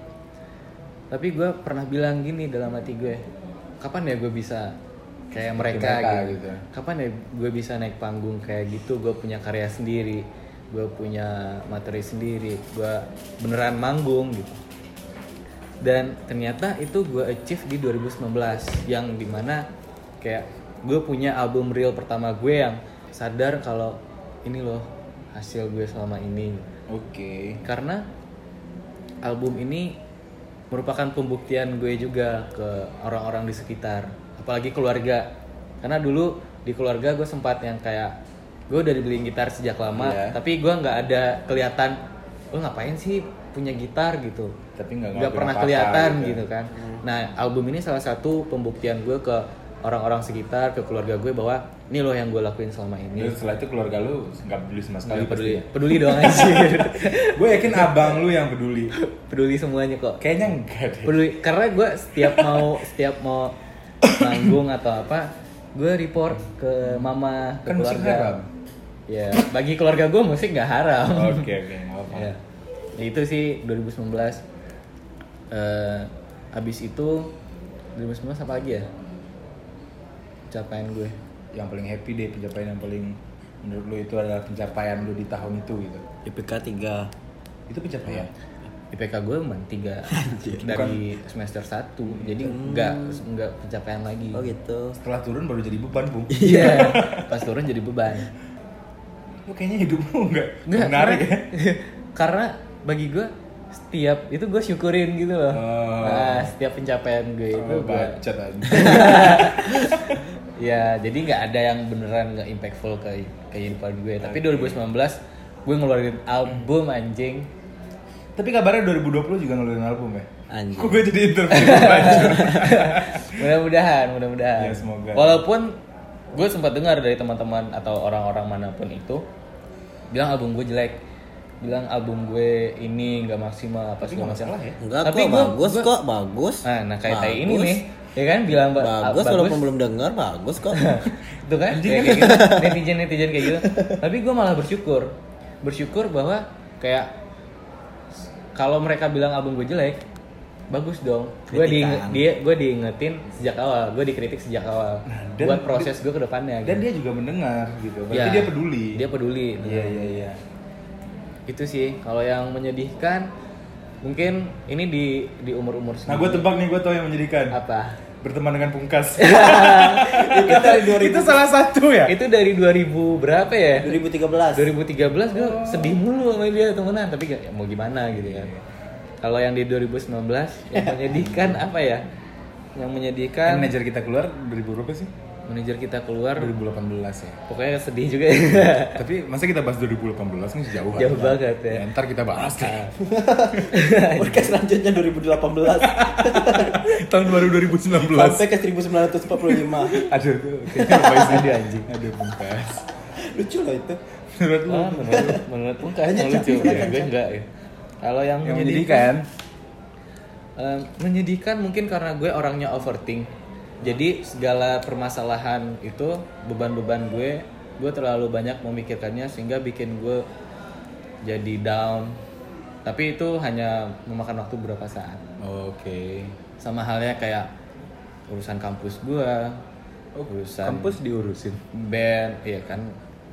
S2: tapi gue pernah bilang gini dalam hati gue kapan ya gue bisa kayak mereka,
S1: mereka
S2: gitu.
S1: gitu.
S2: kapan ya gue bisa naik panggung kayak gitu gue punya karya sendiri gue punya materi sendiri gue beneran manggung gitu dan ternyata itu gue achieve di 2019 yang dimana kayak gue punya album real pertama gue yang sadar kalau ini loh hasil gue selama ini
S1: Oke.
S2: karena album ini merupakan pembuktian gue juga ke orang-orang di sekitar apalagi keluarga karena dulu di keluarga gue sempat yang kayak gue udah dibeliin gitar sejak lama
S1: Iya.
S2: tapi gue nggak ada kelihatan lo ngapain sih punya gitar gitu
S1: Tapi nggak
S2: nggak
S1: ngelakuin
S2: pernah
S1: apa-apa
S2: kelihatan gitu kan nah album ini salah satu pembuktian gue ke orang-orang sekitar ke keluarga gue bahwa ini loh yang gue lakuin selama
S1: Terus
S2: ini
S1: setelah itu keluarga lu nggak peduli sama sekali
S2: Nggak peduli
S1: pasti.
S2: peduli doang anjir
S1: Gue yakin abang lu yang peduli.
S2: peduli semuanya kok
S1: Kayaknya enggak deh.
S2: peduli karena gue setiap mau setiap mau manggung atau apa gue report ke mama ke
S1: Kan musik
S2: keluarga
S1: haram. Oh.
S2: ya bagi keluarga gue musik nggak haram
S1: Oke oke nggak apa.
S2: ya. Ya, itu sih 2019 eh habis itu 2019 apa lagi ya capaian gue
S1: Yang paling happy deh pencapaian yang paling menurut lu itu adalah pencapaian lu di tahun itu gitu.
S3: IPK 3
S1: Itu pencapaian.
S2: IPK gue cuma tiga dari semester 1 jadi nggak nggak pencapaian lagi
S3: Oh gitu.
S1: Setelah turun baru jadi beban bung.
S2: iya pas turun jadi beban
S1: Lu kayaknya hidup lu nggak
S2: Nggak,
S1: menarik ya.
S2: karena, karena bagi gue setiap itu gue syukurin gitu loh.
S1: Oh.
S2: Nah, setiap pencapaian gue itu
S1: Oh,
S2: gue
S1: bacot aja.
S2: ya jadi nggak ada yang beneran nggak ya. impactful ke kehidupan gue. Tapi 2019 gue ngeluarin album anjing
S1: Tapi kabarnya 2020 juga ngeluarin album ya?
S3: Anjing.
S1: Kok gue jadi interview anjir?
S2: mudah-mudahan mudah-mudahan
S1: Ya, semoga.
S2: walaupun gue sempat dengar dari teman-teman atau orang-orang manapun itu bilang album gue jelek bilang album gue ini nggak maksimal apa segala macam
S1: masalah ya.
S3: Enggak
S2: tapi
S3: kok
S2: gua-
S3: bagus
S2: gua-
S3: kok bagus.
S2: nah, nah kayak tai ini
S3: Bagus.
S2: nih ya kan bilang ba-
S3: Bagus
S2: bagus
S3: walaupun belum dengar bagus kok.
S2: itu kan kayak kayak gitu netizen netizen kayak gitu tapi gue malah bersyukur bersyukur bahwa kayak s- kalau mereka bilang album gue jelek bagus dong gue di
S3: Kritikan.
S2: dia gue diingetin sejak awal gue dikritik sejak awal
S1: dan-
S2: buat proses gue ke depannya Ya.
S1: Dan dia juga mendengar gitu. Berarti dia peduli.
S2: dia peduli
S1: Iya iya iya.
S2: itu sih kalau yang menyedihkan mungkin ini di di umur umur
S1: Nah gue tebak nih gue tau yang menyedihkan.
S2: apa
S1: Berteman dengan pungkas.
S3: itu dari
S1: Itu salah satu ya.
S2: itu dari 2000 berapa ya
S3: 2013.
S2: 2013 gue sedih mulu sama dia temenan tapi gak, ya mau gimana gitu kan kalau yang di 2019 yang menyedihkan apa ya
S1: Kan
S2: yang menyedihkan
S1: manajer kita keluar 2000 berapa sih?
S2: manajer kita keluar
S1: 2018 ya.
S2: pokoknya sedih juga ya
S1: Tapi masa kita bahas 2018 kan jauh Ah.
S2: Jauh banget ya.
S1: Ntar kita bahas deh.
S3: Podcast selanjutnya 2018
S1: Tahun baru 2019.
S3: sampai ke 1945.
S1: Aduh, kayaknya lupa isi dia anjing. Aduh, pungkas.
S3: Lucu loh itu.
S1: Menurut lu?
S2: Ah, menurut menurut pun kayaknya
S3: Banyak
S2: lucu
S3: cerita,
S2: ya gue enggak ya kalau yang,
S1: Yang
S2: menyedihkan
S1: menyedihkan.
S2: Eh, menyedihkan mungkin karena gue orangnya overthink. Jadi segala permasalahan itu beban-beban gue, gue terlalu banyak memikirkannya sehingga bikin gue jadi down. Tapi itu hanya memakan waktu beberapa saat.
S1: Oke.
S2: Sama halnya kayak urusan kampus gue, urusan
S1: Oh, Kampus diurusin.
S2: band, iya kan,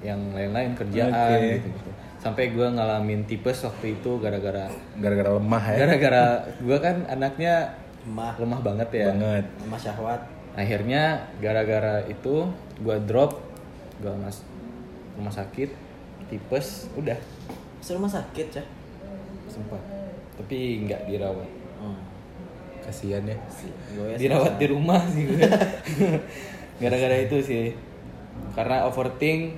S2: yang lain-lain kerjaan gitu-gitu. Sampai gue ngalamin tipes waktu itu gara-gara
S1: Gara-gara lemah ya.
S2: gara-gara gue kan anaknya
S3: Mah,
S2: lemah banget ya.
S1: Banget.
S3: mah syahwat.
S2: akhirnya gara-gara itu gua drop gua mas rumah sakit tipes udah
S3: Masuk rumah sakit ya.
S2: sempat tapi nggak dirawat
S3: Hmm.
S1: Kasihan ya.
S3: Gue
S2: dirawat di rumah sih gua gara-gara itu sih karena overthink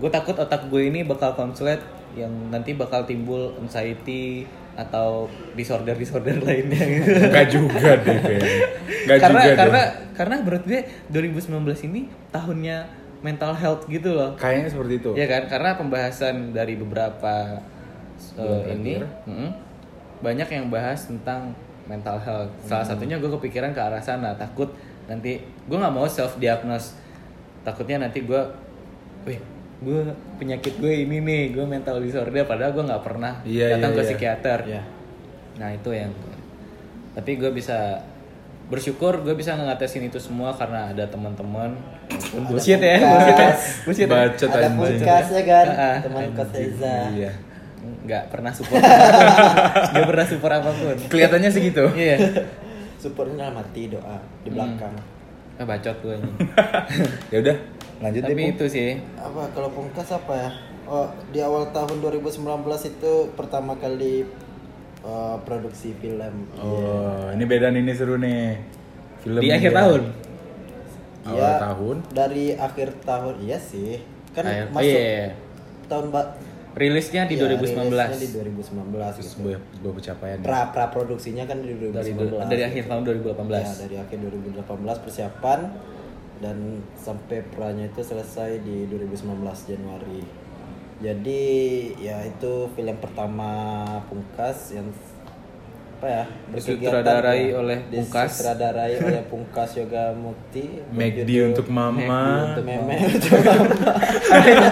S2: gue takut otak gue ini bakal konslet yang nanti bakal timbul anxiety atau disorder disorder lainnya gitu.
S1: Enggak juga deh, Ben. Enggak
S2: karena
S1: juga
S2: karena
S1: deh.
S2: karena menurut gue 2019 ini tahunnya mental health gitu loh
S1: Kayaknya seperti itu.
S2: Iya kan? Karena pembahasan dari beberapa uh, ini mm-mm, banyak yang bahas tentang mental health. Salah satunya gue kepikiran ke arah sana, takut nanti gue nggak mau self diagnose. Takutnya nanti gue, wih, gue penyakit gue ini nih, gue mental disorder. Padahal gue nggak pernah
S1: Iya, iya,
S2: datang ke
S1: iya.
S2: psikiater.
S3: Iya.
S2: Nah itu yang, tapi gue bisa bersyukur gue bisa ngatasin itu semua karena ada teman-teman Walaupun bullshit ya bullshit ya bullshit ya.
S1: Bacot
S3: Ada
S1: anjing.
S3: podcast ya kan,
S2: Ah,
S3: teman kos Reza.
S1: Iya.
S2: nggak pernah support nggak pernah support apapun
S1: Kelihatannya sih gitu.
S2: iya
S3: Supportnya dalam hati doa di belakang.
S2: Ah, bacot gue ini
S1: Ya udah, lanjut deh.
S2: tapi
S1: Pung.
S2: itu sih
S3: Apa kalau pungkas apa ya? Oh, di awal tahun 2019 itu pertama kali eh, produksi film.
S1: Oh, ini beda nih, ini seru nih. Film
S2: di
S1: nih
S2: akhir
S1: ya.
S2: tahun
S1: Awal tahun.
S3: Iya, Dari akhir tahun, iya sih. Kan
S2: Akhir- oh,
S3: masuk
S2: iya, iya.
S3: tahun ba-
S2: rilisnya di
S3: ya,
S2: 2019
S3: rilisnya di 2019 gitu.
S1: Sebuah, sebuah pencapaian. ya.
S3: Pra pra produksinya kan di 2019.
S2: dari du- dari akhir tahun 2018
S3: Ya, dari akhir 2018 persiapan dan sampai peranya itu selesai di 2019 Januari. Jadi ya itu film pertama Pungkas yang apa ya
S2: Disutradarai
S3: ya,
S2: oleh Pungkas.
S3: disutradarai oleh Pungkas Yoga Mukti
S1: McD
S3: berjudul
S1: untuk mama.
S3: untuk meme Iya.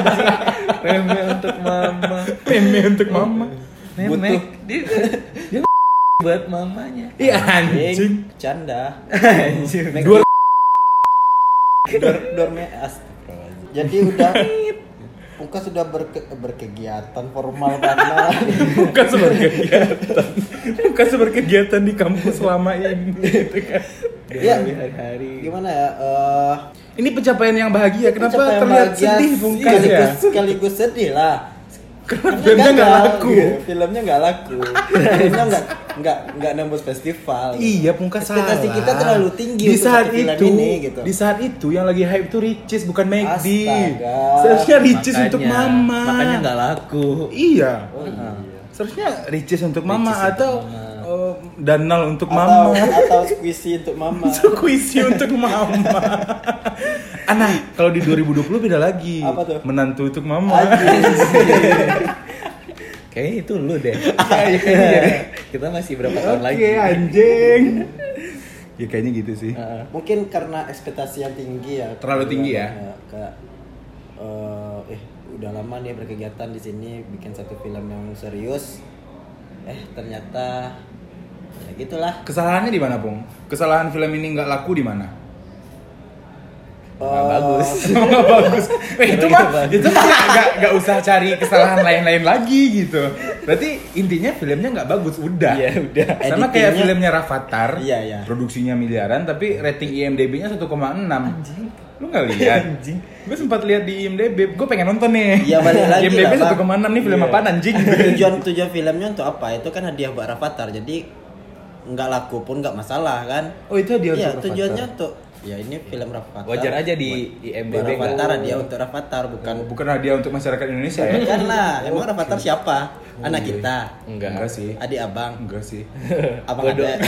S2: meme untuk mama
S1: Meme untuk mama.
S2: meme dia dia buat mamanya
S1: Iya
S3: anjing
S1: anjing.
S3: canda
S2: Anjir.
S1: Dua
S3: Dor, dorme astagfirullahaladzim. Jadi udah Pungkas sudah berke- berkegiatan formal karena
S1: bukan kegiatan. Bukan kegiatan di kampus selama ini. gitu kan.
S3: ya
S2: hari-hari
S3: gimana ya eh,
S1: Ini pencapaian yang bahagia. Kenapa
S3: pencapaian
S1: terlihat
S3: bahagia
S1: sedih bungkas ya?
S3: sekaligus, sekaligus sedih lah
S1: Karena filmnya nggak
S3: Gagal,
S1: laku.
S3: gitu. filmnya nggak laku filmnya nggak nggak nggak nembus festival
S1: Iya, pungkas salah.
S3: Ekspektasi kita terlalu tinggi
S1: Di
S3: untuk
S1: saat
S3: satu film
S1: itu,
S3: ini, gitu.
S1: di saat itu yang lagi hype itu Ricis bukan McD.
S3: Astaga.
S1: Seharusnya Ricis
S2: Makanya-
S1: untuk mama.
S2: makanya nggak laku
S1: Iya.
S3: oh iya
S1: Seharusnya riches untuk mama atau eh, danal untuk
S3: atau
S1: mama.
S3: atau squishy untuk mama
S1: Kuisi untuk mama. Anak, kalau di 2020 beda lagi.
S3: Apa tuh?
S1: Menantu untuk mama.
S3: Anjing.
S2: Kayaknya itu lu deh.
S1: Iya,
S2: Iya. Kita masih berapa tahun
S1: Oke,
S2: lagi?
S1: anjing. ya kayaknya gitu sih.
S2: Heeh.
S3: mungkin karena ekspektasi yang tinggi ya
S1: Terlalu tinggi ya?
S3: Kayak- kayak, eh udah lama nih berkegiatan di sini bikin satu film yang serius eh ternyata ya gitulah
S1: Kesalahannya di mana, Pung? Kesalahan film ini nggak laku di mana?
S3: Eh,
S2: bagus.
S1: Emang nggak bagus. Weh, itu mah
S2: Bagus.
S1: itu mah nggak- nggak nggak usah cari kesalahan lain-lain lagi gitu. Berarti intinya filmnya nggak bagus udah.
S2: Iya, udah.
S1: Sama kayak
S3: Editingnya-
S1: filmnya Rafathar.
S3: Iya, iya.
S1: Produksinya miliaran tapi rating IMDb-nya 1,6. Anjing. Lu nggak lihat?
S2: Anjing.
S1: Gue sempat lihat di IMDb, gue pengen nonton nih.
S3: Iya, balik lagi
S1: IMDb
S3: lah, Bang.
S1: 1,6 nih film
S2: Iya.
S1: apaan anjing?
S3: tujuan tujuan filmnya untuk apa itu kan hadiah buat Rafathar jadi nggak laku pun nggak masalah kan
S1: Oh, itu hadiah
S3: iya,
S1: untuk
S3: tujuannya
S1: Rafathar.
S3: untuk ya ini film Rafathar
S2: Wajar aja di
S3: buat
S2: IMDb
S3: Rafathar
S2: kan.
S3: hadiah untuk Rafathar bukan
S1: Bukan hadiah untuk masyarakat Indonesia ya?
S2: Eh, iya.
S3: bukan kan, lah emang Rafathar siapa anak kita
S2: Enggak.
S1: Enggak sih.
S3: adik abang
S1: Enggak sih.
S2: Iya,
S3: abang
S2: Bodoh.
S3: ada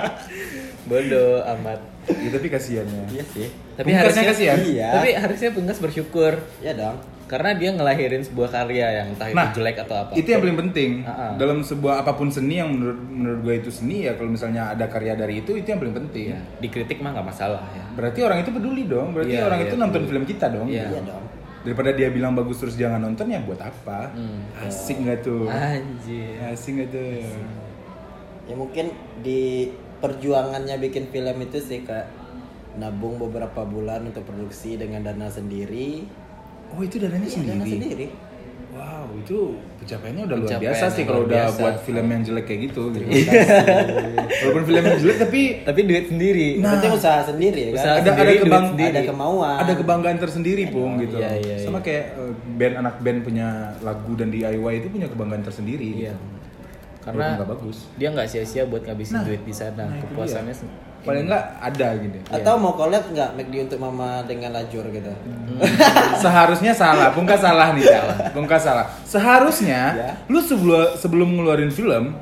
S2: Bodoh amat.
S1: Ya, tapi kasihan ya.
S3: iya sih
S2: Tapi
S1: Pungkasnya
S2: harusnya
S1: kasihan.
S3: Iya.
S2: Tapi harusnya Pungkas bersyukur
S3: ya dong
S2: karena dia ngelahirin sebuah karya yang entah Nah, itu jelek atau apa.
S1: Nah, Itu yang paling penting.
S2: Ah, ah.
S1: Dalam sebuah apapun seni yang menurut menurut gue itu seni ya kalau misalnya ada karya dari itu itu yang paling penting.
S2: Iya, dikritik mah nggak masalah ya.
S1: Berarti orang itu peduli dong. Berarti
S2: Iya,
S1: orang
S2: iya,
S1: itu nonton
S2: peduli.
S1: film kita dong.
S2: Iya.
S3: iya dong
S1: Daripada dia bilang bagus terus jangan nonton ya buat apa?
S2: Hmm.
S1: Asik nggak tuh?
S2: Ah. Anjir.
S1: Asik nggak tuh?
S3: ya mungkin di perjuangannya bikin film itu sih kak nabung beberapa bulan untuk produksi dengan dana sendiri
S1: Oh itu dananya
S3: Iya,
S1: sendiri.
S3: dana sendiri
S1: Wow itu pencapaiannya udah luar
S2: Pencapaian
S1: biasa sih
S2: yang
S1: kalau
S2: luar
S1: udah
S2: biasa. Iya.
S1: buat film yang jelek kayak gitu. gitu. Walaupun film yang jelek tapi Nah,
S2: Tapi duit sendiri.
S3: Berarti usaha sendiri ya
S2: Ah. Usaha
S1: ada
S3: kan?
S1: ada
S2: sendiri, duit
S1: kebang
S2: sendiri.
S3: Ada kemauan.
S1: ada kebanggaan tersendiri pung gitu
S2: Iya, iya,
S1: sama kayak eh, band anak band punya lagu dan DIY itu punya kebanggaan tersendiri
S2: Iya.
S1: gitu. Walaupun
S2: Karena
S1: nggak bagus
S2: dia nggak sia-sia buat ngabisin duit di sana.
S1: nah, itu
S2: Kepuasannya
S1: dia.
S2: sen-
S1: paling nggak ada gitu
S3: Atau mau collab nggak McD untuk mama dengan lajur gitu?
S2: Hmm.
S1: seharusnya salah pungka salah nih salah pungka salah seharusnya
S2: Iya.
S1: lu sebelum sebelum ngeluarin film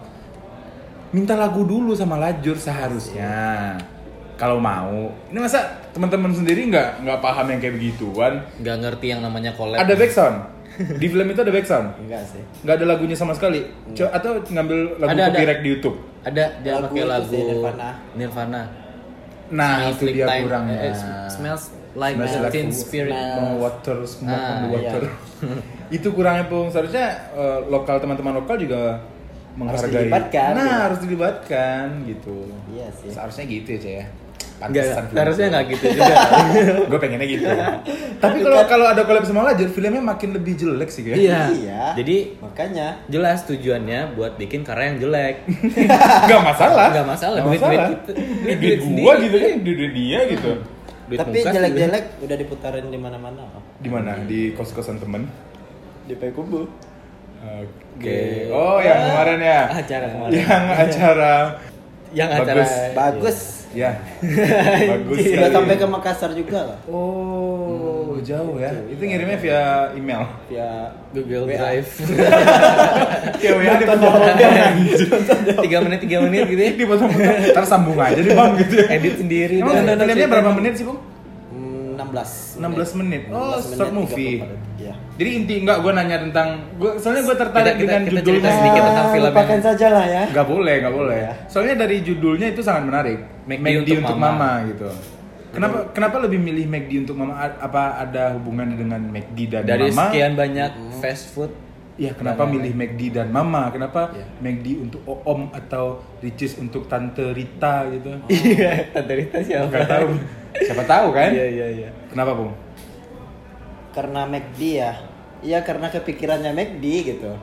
S1: minta lagu dulu sama lajur seharusnya
S2: Iya.
S1: kalau mau ini masa teman-teman sendiri nggak nggak paham yang kayak begituan
S2: nggak ngerti yang namanya collab.
S1: ada backsound di film itu ada backsound
S3: Enggak sih.
S1: nggak ada lagunya sama sekali Co- atau ngambil lagu
S2: Ada, ada.
S1: copyright di YouTube
S2: Ada dia
S3: Lagu
S2: pakai
S3: itu
S2: lagu
S3: sih, Nirvana.
S2: Nirvana.
S1: nah
S2: Smells
S1: itu
S2: like
S1: dia
S2: time-
S1: kurangnya
S2: eh, eh, smells like
S1: Smells like
S2: teen
S1: wo-
S2: spirit.
S1: oh, water smoke
S2: Ah,
S1: on the water itu kurangnya pung seharusnya eh, lokal teman-teman lokal juga menghargai
S3: dilibatkan,
S1: nah
S2: iya.
S3: gitu.
S1: harus dilibatkan gitu
S3: Iya sih.
S1: seharusnya gitu ya Cah, ya
S2: Nggak,
S1: Pantesan film
S2: harusnya
S1: itu.
S2: nggak gitu juga.
S1: gue pengennya gitu tapi kalau kalau ada collab sama Lajur filmnya makin lebih jelek sih kayak
S2: kan Iya.
S3: Iya.
S2: Jadi
S3: Makanya
S2: jelas tujuannya buat bikin karya yang jelek.
S1: nggak masalah
S2: Nggak masalah,
S1: nggak
S2: duit-
S1: masalah
S2: duit kita-
S1: duit,
S2: duit
S1: gua
S2: sendiri.
S1: gitu kan duit, duit dia gitu
S2: Duit
S3: tapi
S2: Pungkas juga.
S3: jelek-jelek udah diputarin di mana-mana. Oh,
S1: di mana di kos kosan temen
S3: Di Payakumbu.
S1: oke oh yang kemarin ya
S2: Ah, Acara kemarin.
S1: yang acara
S2: yang acara
S1: Bagus.
S3: Bagus.
S1: ya bagus
S3: Sudah
S1: sekali.
S3: sampai ke Makassar juga lah.
S1: oh
S2: Hmm,
S1: jauh ya itu ngirimnya via email
S3: Ya
S2: Iya. Google
S3: WA.
S2: Drive Iya,
S1: via wa dipotong
S2: tiga menit tiga menit gitu ya
S1: dipotong ntar sambung aja deh bang gitu ya
S2: edit sendiri
S1: Emang
S2: dan- dan-
S1: filmnya berapa menit sih bung
S3: Hmm, 16.
S1: 16 menit. Oh,
S3: 16
S1: short
S3: menit,
S1: movie.
S3: 34 detik. Iya.
S1: jadi inti enggak gue nanya tentang gua, soalnya gue tertarik
S2: Kita- kita-
S1: dengan
S2: kita
S1: judulnya
S2: cerita sedikit tentang
S3: Ah,
S2: film yang-
S3: lupakan saja lah ya.
S1: Gak boleh, gak boleh.
S3: Ya.
S1: Soalnya dari judulnya itu sangat menarik.
S2: McD
S1: McD
S2: untuk
S1: untuk,
S2: Mama.
S1: mama. gitu. Kenapa kenapa lebih milih McD untuk mama? A- Apa ada hubungannya dengan McD dan
S2: dari
S1: mama?
S2: sekian banyak fast food
S1: Ya, kenapa milih McD dan mama? Kenapa McD untuk om atau Ricis untuk tante Rita gitu?
S2: iya tante Rita
S1: Gak
S2: siapa
S1: tahu. Siapa tahu kan?
S2: iya iya iya
S1: Kenapa, Bung?
S3: Karena McD ya. Iya karena kepikirannya McD gitu.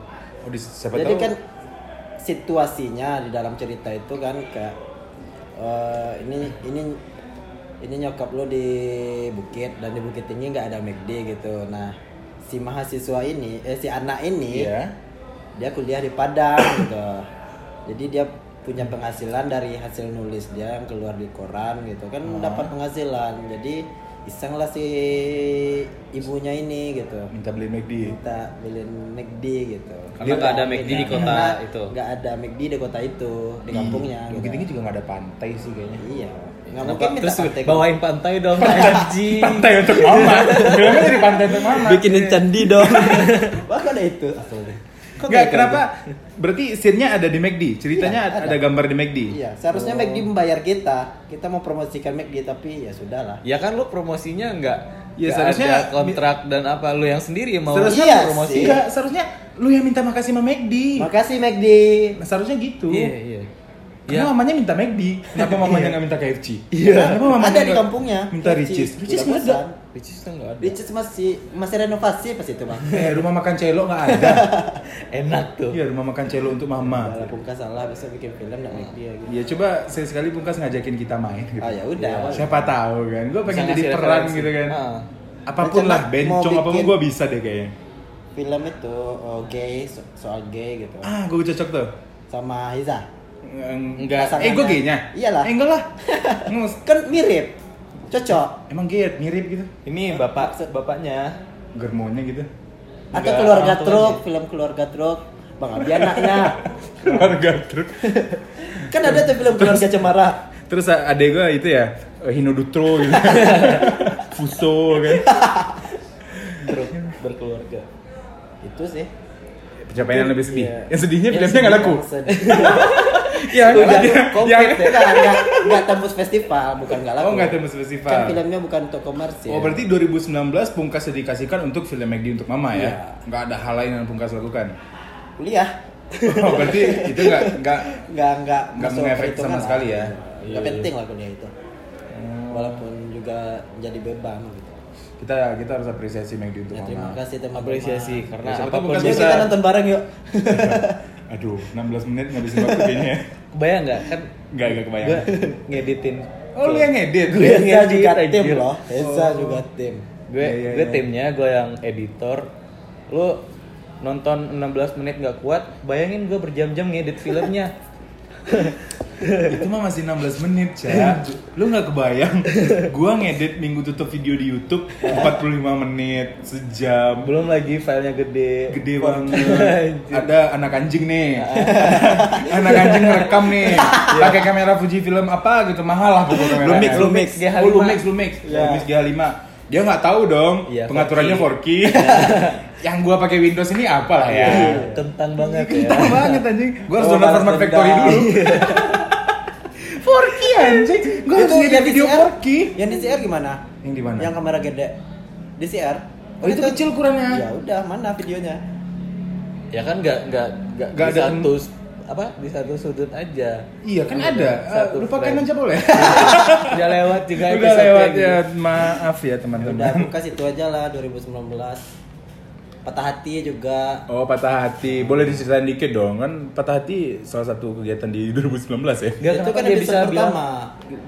S1: Oh, di, siapa tahu.
S3: Jadi kan situasinya di dalam cerita itu kan kayak eh, ini ini ini nyokap lo di bukit dan di bukit tinggi nggak ada McD gitu. Nah si mahasiswa ini eh si anak ini
S1: Iya.
S3: dia kuliah di Padang gitu. Jadi dia punya
S1: Oh.
S3: penghasilan dari hasil nulis dia yang keluar di koran gitu kan dapat penghasilan. Jadi iseng lah si ibunya ini gitu
S1: minta beli McD
S3: minta beliin McD gitu
S2: Karena nggak ada McD di kota
S3: Karena
S2: itu. Iya.
S3: nggak ada McD di kota itu di kampungnya gitu.
S1: Bukit Tinggi juga nggak ada pantai sih kayaknya
S3: iya nggak mungkin minta
S2: Terus
S3: pantai
S2: bawain pantai dong anjing.
S1: pantai untuk mama bilangnya dari pantai untuk mama Iya.
S3: bikinin candi dong bahkan ada itu asalnya
S2: gitu?
S1: Nggak, kenapa berarti scene-nya ada di McD ceritanya ada. gambar di McD
S3: iya seharusnya
S2: Oh.
S3: McD membayar kita kita mau promosikan McD tapi ya sudahlah
S2: Ya kan lu promosinya enggak
S1: Ya,
S2: ya,
S1: seharusnya-
S2: ada kontrak dan apa lu yang sendiri yang mau
S1: seharusnya
S3: Iya
S1: lu promosi
S3: sih.
S1: Nggak, seharusnya lu yang minta makasih sama McD
S3: makasih McD
S1: Nah, seharusnya gitu
S2: Iya, iya. Ya,
S1: Kenapa mamanya minta McD? Kenapa mamanya nggak minta KFC?
S3: Iya.
S1: Kenapa mamanya
S3: Ada di
S1: nggak
S3: kampungnya.
S1: Minta
S3: KFC.
S1: Ricis. Ricis
S3: Udah
S1: nggak ada.
S3: bosan.
S2: which is tuh enggak ada.
S3: Ricis masih masih renovasi pas itu bang
S1: Eh, rumah makan celo nggak ada.
S2: Enak tuh.
S1: Iya, rumah makan celo untuk mama.
S3: Kalau Pungkas salah besok bikin film nggak McD ya gitu
S1: Ya coba sekali Pungkas ngajakin kita main gitu.
S3: ah ya udah
S2: Iya.
S1: Siapa tahu kan, gue pengen
S2: Bisa
S1: jadi
S2: ngasih
S1: peran
S2: referensi.
S1: gitu kan.
S2: Ah.
S1: Apapun
S3: Rencana
S1: lah,
S3: mau
S1: bencong apa
S3: bikin-
S1: gue bisa deh kayaknya.
S3: film itu oh, gay so- soal gay gitu
S1: Ah, gue cocok tuh.
S3: sama Hiza
S1: Enggak.
S3: Pasangannya.
S1: Eh, gue gaynya.
S3: Iyalah.
S1: Eh, enggak lah. Ngus.
S3: kan mirip cocok
S1: Emang gay mirip gitu.
S2: Ini bapak bapaknya.
S1: Germonya gitu.
S3: atau
S2: Enggak,
S3: keluarga
S2: orang tuanya.
S3: truk film keluarga truk bang Abi anaknya
S1: Keluarga truk.
S3: kan ada tuh film keluarga cemara
S1: Terus a- adek gue itu ya eh, Hinodutro gitu. Fuso kan.
S2: Terus berkeluarga.
S3: itu sih
S1: Pencapaian yang lebih sedih.
S3: Iya.
S1: Yang sedihnya
S3: Yang
S1: filmnya nggak laku.
S3: sedih, sedih.
S1: Iya,
S3: Udah,
S1: yang-
S3: komplit
S1: yang-
S3: ya. Nggak- nggak nggak tembus festival bukan nggak laku
S1: Oh, nggak tembus festival.
S3: kan filmnya bukan untuk komersil
S1: Oh berarti 2019 Pungkas dedikasikan untuk film McD untuk Mama ya?
S3: Iya.
S1: Nggak ada hal lain yang Pungkas lakukan?
S3: kuliah
S1: Oh berarti itu nggak nggak
S3: nggak nggak
S1: Nggak
S3: masuk
S1: mengefek
S3: perhitungan
S1: sama
S3: lah.
S1: sekali ya.
S3: nggak penting lah kuliah itu walaupun juga jadi beban gitu
S1: kita kita harus apresiasi McD untuk
S3: ya, terima
S1: Mama.
S3: kasih teman-teman
S2: Apresiasi karena
S1: Iya, Ya, siapa tahu
S2: apapun
S1: bukan
S3: Yuk,
S1: bisa.
S2: bisa.
S3: kita nonton bareng yuk
S1: Aduh 16 menit ngabisin waktu kayaknya.
S2: Kebayang enggak kan
S1: Nggak nggak kebayang.
S2: gua ngeditin.
S1: Oh lu yang ngedit.
S2: Gue yang
S3: Heza Iya, juga Oh.
S2: ngedit,
S3: tim
S2: anjir.
S3: loh Heza juga tim
S2: Gue
S1: Iya, iya,
S2: gue
S1: iya.
S2: timnya, gue yang editor. Lu nonton 16 menit nggak kuat, bayangin gue berjam-jam ngedit filmnya.
S1: itu mah masih 16 menit ya lu nggak kebayang gua ngedit minggu tutup video di YouTube 45 menit sejam
S2: Belum lagi filenya gede.
S1: gede banget ada anak anjing nih anak anjing ngerekam nih pakai kamera Fuji film apa gitu mahal lah pokoknya kameranya.
S2: Lumix, Lumix G5.
S1: oh, Lumix Lumix
S3: Iya.
S1: Lumix G5 dia nggak tahu dong
S2: Iya,
S1: pengaturannya 4K yang gua pakai Windows ini apa lah ya
S2: Iya. Kentang banget ya.
S1: Kentang banget anjing. Gua harus
S3: Oh,
S1: download
S3: balas
S1: format factory
S3: dendam. Iya.
S1: dulu. 4K anjing. Gua harus ngedit video 4K.
S3: Yang DCR gimana?
S1: Yang di mana?
S3: Yang kamera gede. DCR.
S1: Oh, itu kecil ukurannya.
S3: Ya udah, mana videonya?
S2: Ya kan nggak nggak nggak
S1: Nggak
S2: di
S1: ada-
S2: satu apa di satu sudut aja.
S1: Iya kan ada. Eh,
S2: Satu
S1: lupakan
S2: frame.
S1: aja boleh.
S2: Udah lewat juga gitu.
S1: Udah
S2: episode
S1: lewat
S2: lagi.
S1: ya. Maaf ya
S3: Ya gitu. udah,
S1: teman-teman.
S3: buka situ aja lah 2019. Patah hati juga.
S1: Oh patah hati, boleh diceritain dikit dong kan patah hati salah satu kegiatan di 2019 ya.
S2: Nggak,
S3: Itu
S2: kenapa
S3: kan
S2: dia
S3: episode
S2: bisa bilang
S3: pertama.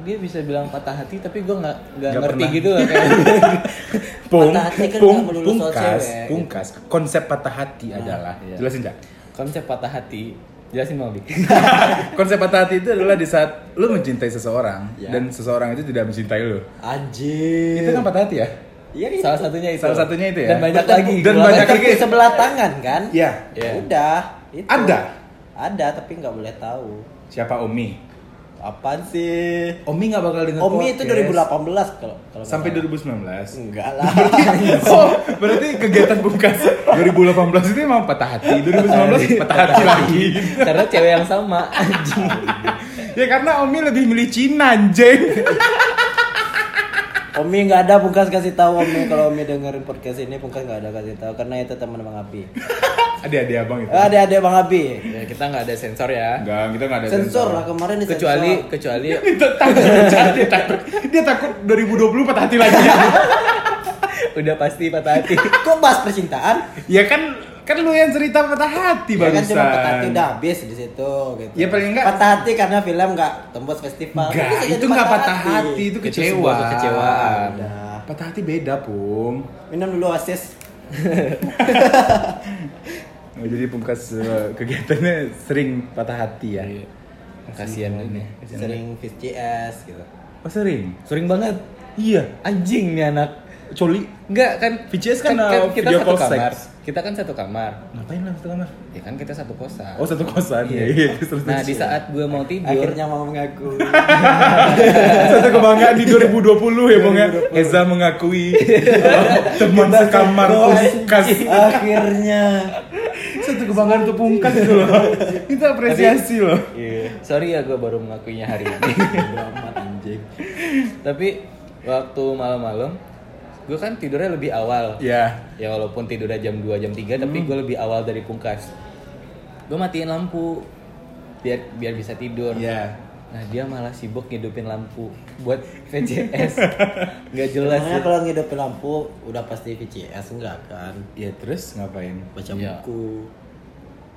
S2: dia bisa bilang patah hati tapi gue nggak nggak
S1: Nggak
S2: ngerti
S1: pernah.
S2: gitu loh kayak
S1: Pung,
S3: Patah hati kan
S1: pung,
S3: nggak melulu soal
S1: pungkas,
S3: cewek. Nah, iya.
S1: pungkas. Konsep patah hati adalah, jelasin cak.
S2: konsep patah hati jelasin mau Bi.
S1: Konsep patah hati itu adalah di saat lu mencintai seseorang
S3: Ya.
S1: dan seseorang itu tidak mencintai lu.
S3: Anjir.
S1: Itu kan patah hati ya?
S3: Iya, itu.
S2: salah satunya itu
S1: Salah satunya itu ya?
S2: dan banyak
S1: Dan-
S2: lagi
S1: dan
S2: Gua
S1: banyak
S2: nggak-
S1: lagi.
S3: Di sebelah tangan kan?
S1: Iya.
S2: Iya.
S3: Udah, itu.
S1: Ada?
S3: Ada, tapi nggak boleh tahu.
S1: Siapa Omi?
S3: Apaan sih?
S1: Omi nggak bakal dengar
S3: Omi itu
S1: podcast.
S3: 2018 kalau kalau nggak
S1: sampai
S3: salah.
S1: 2019.
S3: enggak lah.
S1: Oh, berarti kegiatan bungkas 2018 itu emang patah hati, 2019 patah hati lagi.
S2: karena cewek yang sama anjing
S1: Ya karena Omi lebih milih Cina, anjing.
S3: Omi nggak ada Pungkas kasih tahu Omi kalau Omi dengerin podcast ini Pungkas nggak ada kasih tahu karena itu teman Bang Abi.
S1: Adik-adik abang itu.
S3: Ada ada Bang Abi.
S2: ya, kita nggak ada sensor ya
S1: Enggak, kita nggak ada
S3: Sensor lah kemarin disensor.
S2: kecuali kecuali
S1: Itu takut, dia takut. Dia takut 2020 patah hati lagi.
S2: udah pasti patah hati
S3: kok bahas percintaan?
S1: ya kan kan lu yang cerita patah hati
S3: Ya kan
S1: barusan.
S3: cuma patah hati udah habis di situ gitu.
S1: Ya, paling nggak-
S3: patah hati karena film nggak tembus festival.
S1: Enggak,
S3: Bisa jadi
S1: itu nggak patah hati, itu
S2: Itu
S1: kecewa.
S2: sebuah kekecewaan.
S3: Udah.
S1: Patah hati beda, Pung.
S3: Minum dulu asis.
S1: Oh, jadi pungkas eh, kegiatannya sering patah hati ya.
S2: kasihan ini
S3: Sering VCS gitu.
S1: Oh sering.
S2: sering banget
S1: Iya.
S2: Anjing nih anak.
S1: Coli.
S2: Enggak kan
S4: VCS kan, uh,
S2: kita
S4: video
S2: satu
S4: call
S2: kamar.
S4: sex.
S2: Kita kan satu kamar.
S1: Ngapain lah satu kamar?
S2: Ya kan kita satu kosan.
S4: Oh satu kosan ya. Iya. terus-
S2: nah,
S4: terus.
S2: di saat gue mau tidur,
S3: akhirnya mau mengaku
S4: satu kebanggaan di 2020 ya Bang ya. Eza mengakui oh, teman sekamar pungkas.
S3: akhirnya
S1: Satu kebanggaan tuh pungkas itu loh. Itu apresiasi loh.
S2: sorry ya gue baru mengakuinya hari ini.
S3: Bodo amat anjing
S2: Tapi waktu malam-malam, gue kan tidurnya lebih awal.
S4: Ya.
S2: Ya walaupun tidurnya jam 2 jam 3 tapi gue lebih awal dari pungkas. Gue matiin lampu biar biar bisa tidur.
S1: Iya.
S2: Nah dia malah sibuk ngidupin lampu buat VCS. Nggak jelas.
S3: Emangnya kalau ngidupin lampu udah pasti VCS enggak kan
S4: Ya terus ngapain?
S3: baca
S2: Iya.
S3: buku